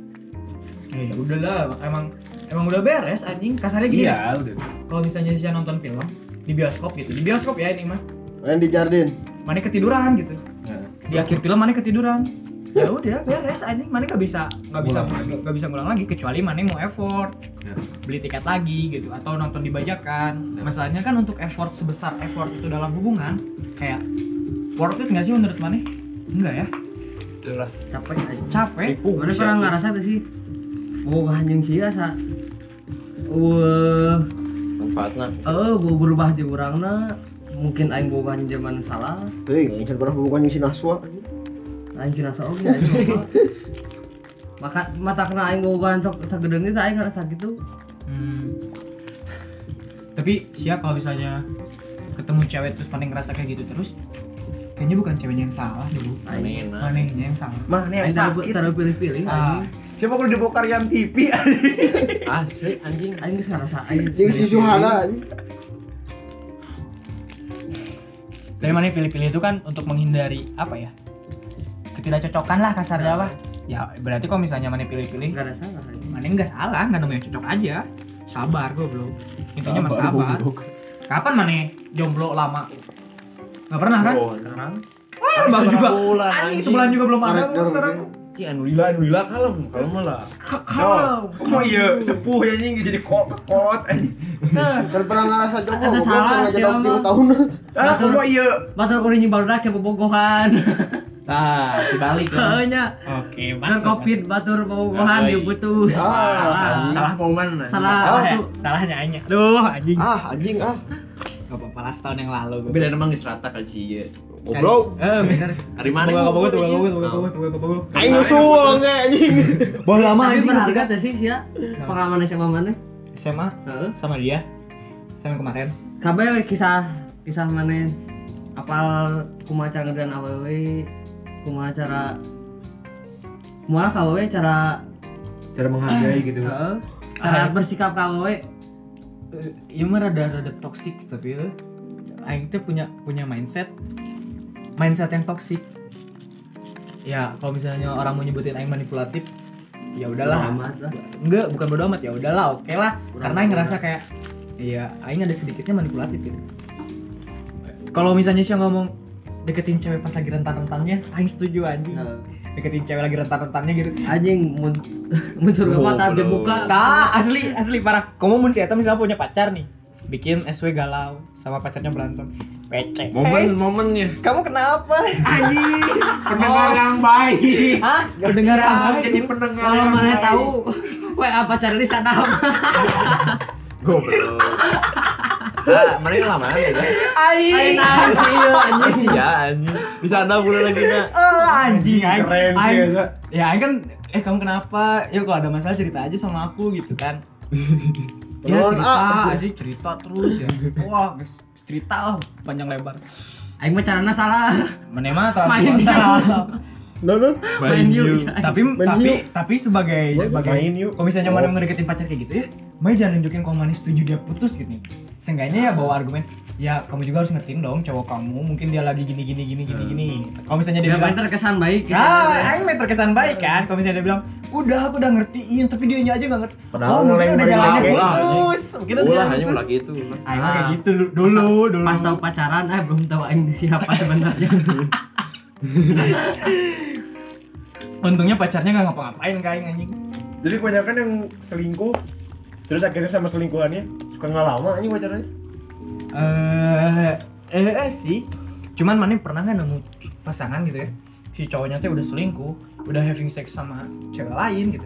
B: Iya.
A: ya udahlah emang emang udah beres anjing kasarnya gini
B: iya udah
A: kalau misalnya saya nonton film di bioskop gitu di bioskop ya ini mah
E: Yang di Jardin.
A: mana ketiduran gitu
B: Nah.
A: di akhir film mana ketiduran ya udah beres anjing mana nggak bisa nggak bisa nggak bisa ngulang lagi kecuali mana mau effort beli tiket lagi gitu atau nonton dibajakan masalahnya kan untuk effort sebesar effort itu dalam hubungan kayak worth it nggak sih menurut mana enggak ya
C: capek aja
A: capek
C: mana pernah
A: iya.
C: ngerasa tuh sih oh anjing sih rasa Wah,
D: manfaatnya
C: eh bau berubah di urangna mungkin aing boban zaman salah
E: Tuh, yang saya pernah bukan ngisi naswa.
C: anjing rasa oke aing boba. maka mata kena aing boban sok sagedeng itu aing ngerasa gitu
A: Hmm. Tapi sia kalau misalnya ketemu cewek terus paling ngerasa kayak gitu terus kayaknya bukan ceweknya yang salah dulu
C: aing
A: manehnya yang salah
B: mah nih yang
C: aing taruh
B: sakit
C: taruh pilih-pilih
A: Ah,
C: anjing
B: siapa kudu dibongkar yang TV anjing
D: asli anjing
C: aing geus ngerasa aing
E: Yang si Suhana. anjing.
A: tapi maneh pilih-pilih itu kan untuk menghindari apa ya ketidakcocokan lah kasarnya lah ya berarti kalau misalnya maneh pilih-pilih
C: enggak ada salah anjing.
A: maneh nggak salah nggak namanya cocok aja sabar gue belum intinya mas sabar kapan maneh jomblo lama nggak pernah kan
E: Oh,
C: sekarang
A: Wah, baru juga
D: bulan,
A: anjing
D: anjing.
A: sebulan juga belum ada
E: Karakter
A: sekarang
D: Ci, anu lila anu lila kalem kalem lah
B: Oh, oh iya, sepuh ya anjing jadi kok kot anjing.
A: nah
E: Kan pernah ngerasa jomblo,
C: Ada
E: goblok,
C: salah,
E: pernah jadi
C: siapa?
E: waktu lima tahun.
B: Ah, kamu iya.
C: Batur kuring nyebar dak ke bobogohan.
D: nah dibalik kan
C: Heunya
A: oke
C: kan
A: masuk
C: covid batur bobogohan
D: Yoi.
C: diputus.
E: Ah,
C: Salah.
D: salah mau mana
C: Salah
A: salah
C: waktu.
A: ya? salahnya aja aduh anjing
E: ah, anjing ah.
A: gak apa-apa lah setahun yang lalu gue
D: bila emang geus rata kali sih ya
E: Goblok.
A: eh bener
D: hari mana
A: boga boga tuh boga boga boga
D: Nah.
A: boga boga boga boga
E: Aing usul ge anjing.
A: boga lama
C: Tapi
A: anjing
C: berharga teh sih sia. Pengalaman SMA mana?
A: SMA
C: Heeh.
A: sama dia sama yang kemarin
C: Kabeh kisah kisah mana? Apal kumaha cara ngerjain awewe? Kumaha cara Kumaha ka awewe cara
B: Cara menghargai gitu.
C: heeh. Cara bersikap ka awewe?
A: Eh, iya mah rada rada toksik tapi eh, Aing tuh punya punya mindset mindset yang toksik ya kalau misalnya orang mau nyebutin Aing manipulatif ya udahlah
C: Bodo amat lah.
A: enggak bukan bodo amat ya udahlah oke lah karena Aing ngerasa kayak ya Aing ada sedikitnya manipulatif gitu kalau misalnya sih ngomong deketin cewek pas lagi rentan-rentannya Aing setuju anjing
C: Heeh.
A: deketin cewek lagi rentan-rentannya gitu
C: Anjing mun muncul ke mata aja buka.
A: Nah, asli asli parah. Kamu mun si Eta misalnya punya pacar nih, bikin SW galau sama pacarnya berantem. Pece.
D: momen
A: Eh,
D: momennya
A: kamu kenapa? Oh.
B: Anjing, pendengar yang baik.
A: Hah? Pendengar
B: Langsung
A: apa?
B: jadi pendengar.
C: Kalau
B: yang
C: mana
B: baik.
C: tahu WA pacar di sana.
D: goblok nah mana yang lama gitu
A: Iya,
C: Ayo
A: Aing.
C: nahan sih ieu, anjing.
D: anjing ya anjing bisa ada bulan lagi na
A: Eh, anjing aing.
B: Keren sih,
A: Aing-
B: Eta.
A: Ya, aing kan eh kamu kenapa? Yuk kalau ada masalah cerita aja sama aku gitu kan. ya
E: Lawan,
A: cerita,
E: ah.
A: aja cerita terus ya. Wah, guys, cerita lah panjang lebar.
C: Aing mah carana salah.
A: Mana mah tahu-
C: Main
A: tahu-
C: dia.
E: Nonon.
C: Main yuk.
A: tapi tapi tapi sebagai sebagai
B: main yuk. Oh.
A: kalau misalnya mana ngedeketin pacar kayak gitu ya Mai jangan nunjukin kalau mana setuju dia putus gitu seenggaknya ya bawa argumen ya kamu juga harus ngertiin dong cowok kamu mungkin dia lagi gini gini gini gini gini
B: Hmm.
A: kalau misalnya dia
C: Dia
A: bilang
C: main terkesan baik. ya.
A: Ah, Aing mah terkesan baik kan kalau misalnya dia bilang, udah aku udah ngertiin, tapi dia aja gak ngerti. oh,
B: Padahal
A: mungkin
B: mulai
A: udah
B: dari
A: jalannya
B: awal,
A: putus. Mungkin udah
D: Ulah
A: jalannya
D: hanya ulah
A: putus.
D: gitu. ulah.
A: Aing mah kayak
C: Ah.
A: gitu dulu, dulu. dulu.
C: Pas tahu pacaran, eh belum tahu aing siapa sebenarnya.
A: Untungnya pacarnya gak ngapa-ngapain kayak anjing.
B: Jadi kebanyakan yang selingkuh terus akhirnya sama selingkuhannya suka nggak lama aja pacarannya.
A: Eh, eh, eh, sih. Cuman mana pernah nggak nemu pasangan gitu ya? Si cowoknya tuh udah selingkuh, udah having sex sama cewek lain gitu.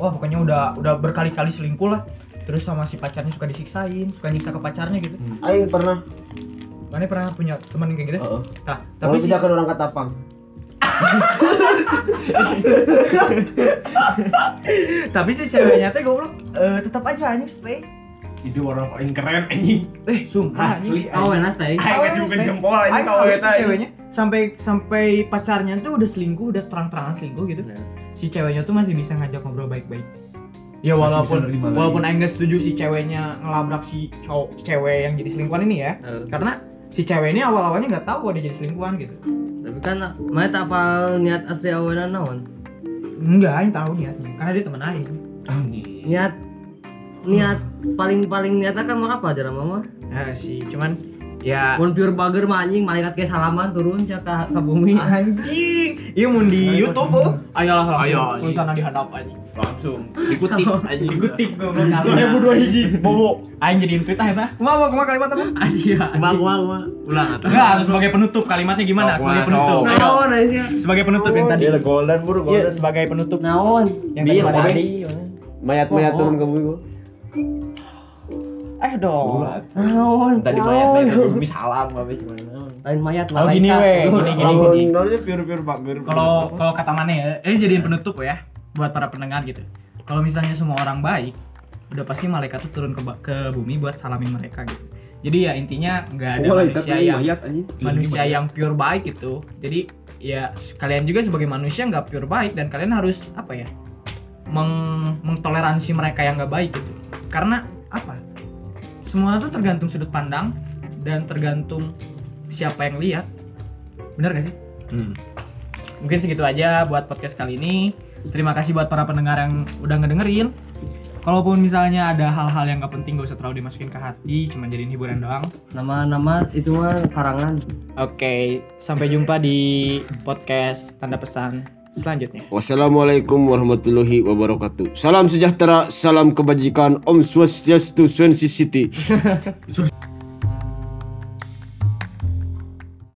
A: Wah, pokoknya udah udah berkali-kali selingkuh lah. Terus sama si pacarnya suka disiksain, suka nyiksa ke pacarnya gitu.
B: Aing pernah.
A: Mana pernah punya teman kayak gitu?
B: Heeh.
A: Nah,
B: Tapi
A: tapi si
B: tidak orang katapang.
A: tapi si ceweknya teh goblok eh, tetap aja anjing stay.
J: itu orang paling keren anjing
A: Eh, sumpah
J: asli
A: anjing.
C: Oh,
J: anjing
C: enak teh.
J: Aing
A: Awalnya
J: ngacungkan
A: stay.
J: jempol anjing
A: Aing
J: kalau
A: sampai
J: eta
A: ke
J: anjing.
A: ceweknya sampai sampai pacarnya tuh udah selingkuh, udah terang-terangan selingkuh gitu. Si ceweknya tuh masih bisa ngajak ngobrol baik-baik. Ya walaupun
B: nerima lagi.
A: walaupun Aing nggak setuju si ceweknya ngelabrak si cowok cewek yang jadi selingkuhan ini ya. Karena si cewek ini awal-awalnya nggak tahu kalau dia jadi selingkuhan gitu.
C: Tapi kan mana tak apa niat asli awalnya naon?
A: Enggak, Aing tahu niatnya. Karena dia temen Aing.
C: Niat niat paling-paling niatnya kan mau apa aja mama?
A: Nah, si cuman ya
C: Mun pure bager mah anjing malaikat ke salaman turun ca ka, ka bumi.
A: Ah. anjing. Iya mun di YouTube oh. Ayolah langsung
D: Ayo, anjing.
A: tulisannya di hadap anjing.
D: Langsung dikutip aja.
A: Dikutip goblok. 2002 hiji bobo. Aing jadiin tweet ah eta. Kumaha Bo? kumaha kalimat apa?
C: Asia.
D: Gua gua gua. Ulang atuh.
A: Enggak, harus sebagai penutup kalimatnya gimana?
D: Oh,
A: Sebagai
D: gua
A: penutup.
D: tahu.
A: Ayo.
C: Naon Asia?
A: Sebagai penutup yang tadi.
B: golden buru
A: Oh, Iya, sebagai penutup
C: Naon?
A: yang tadi. mana?
C: Oh,
B: Mayat-mayat turun ke bumi gua.
A: Eh dong.
C: Naon?
K: Tadi mayat mayat tapi bumi salam apa gimana?
C: Lain mayat
A: Oh gini
C: malaikat.
A: weh, gini gini gini.
B: Goldennya pure-pure bager.
A: Kalau kalau kata mana ya? Ini jadiin penutup ya buat para pendengar gitu. Kalau misalnya semua orang baik, udah pasti malaikat tuh turun ke ba- ke bumi buat salamin mereka gitu. Jadi ya intinya nggak ada manusia yang
B: mayat anjing.
A: manusia yang pure baik gitu jadi ya kalian juga sebagai manusia nggak pure baik dan kalian harus apa ya meng- mengtoleransi mereka yang nggak baik gitu karena apa semua itu tergantung sudut pandang dan tergantung siapa yang lihat benar gak sih mungkin segitu aja buat podcast kali ini terima kasih buat para pendengar yang udah ngedengerin kalaupun misalnya ada hal-hal yang nggak penting gak usah terlalu dimasukin ke hati cuman jadiin hiburan doang
C: Nama-nama itu mah karangan.
A: Oke, sampai jumpa di podcast tanda pesan selanjutnya.
E: Wassalamualaikum warahmatullahi wabarakatuh. Salam sejahtera, salam kebajikan. Om Swastiastu, Swansea City.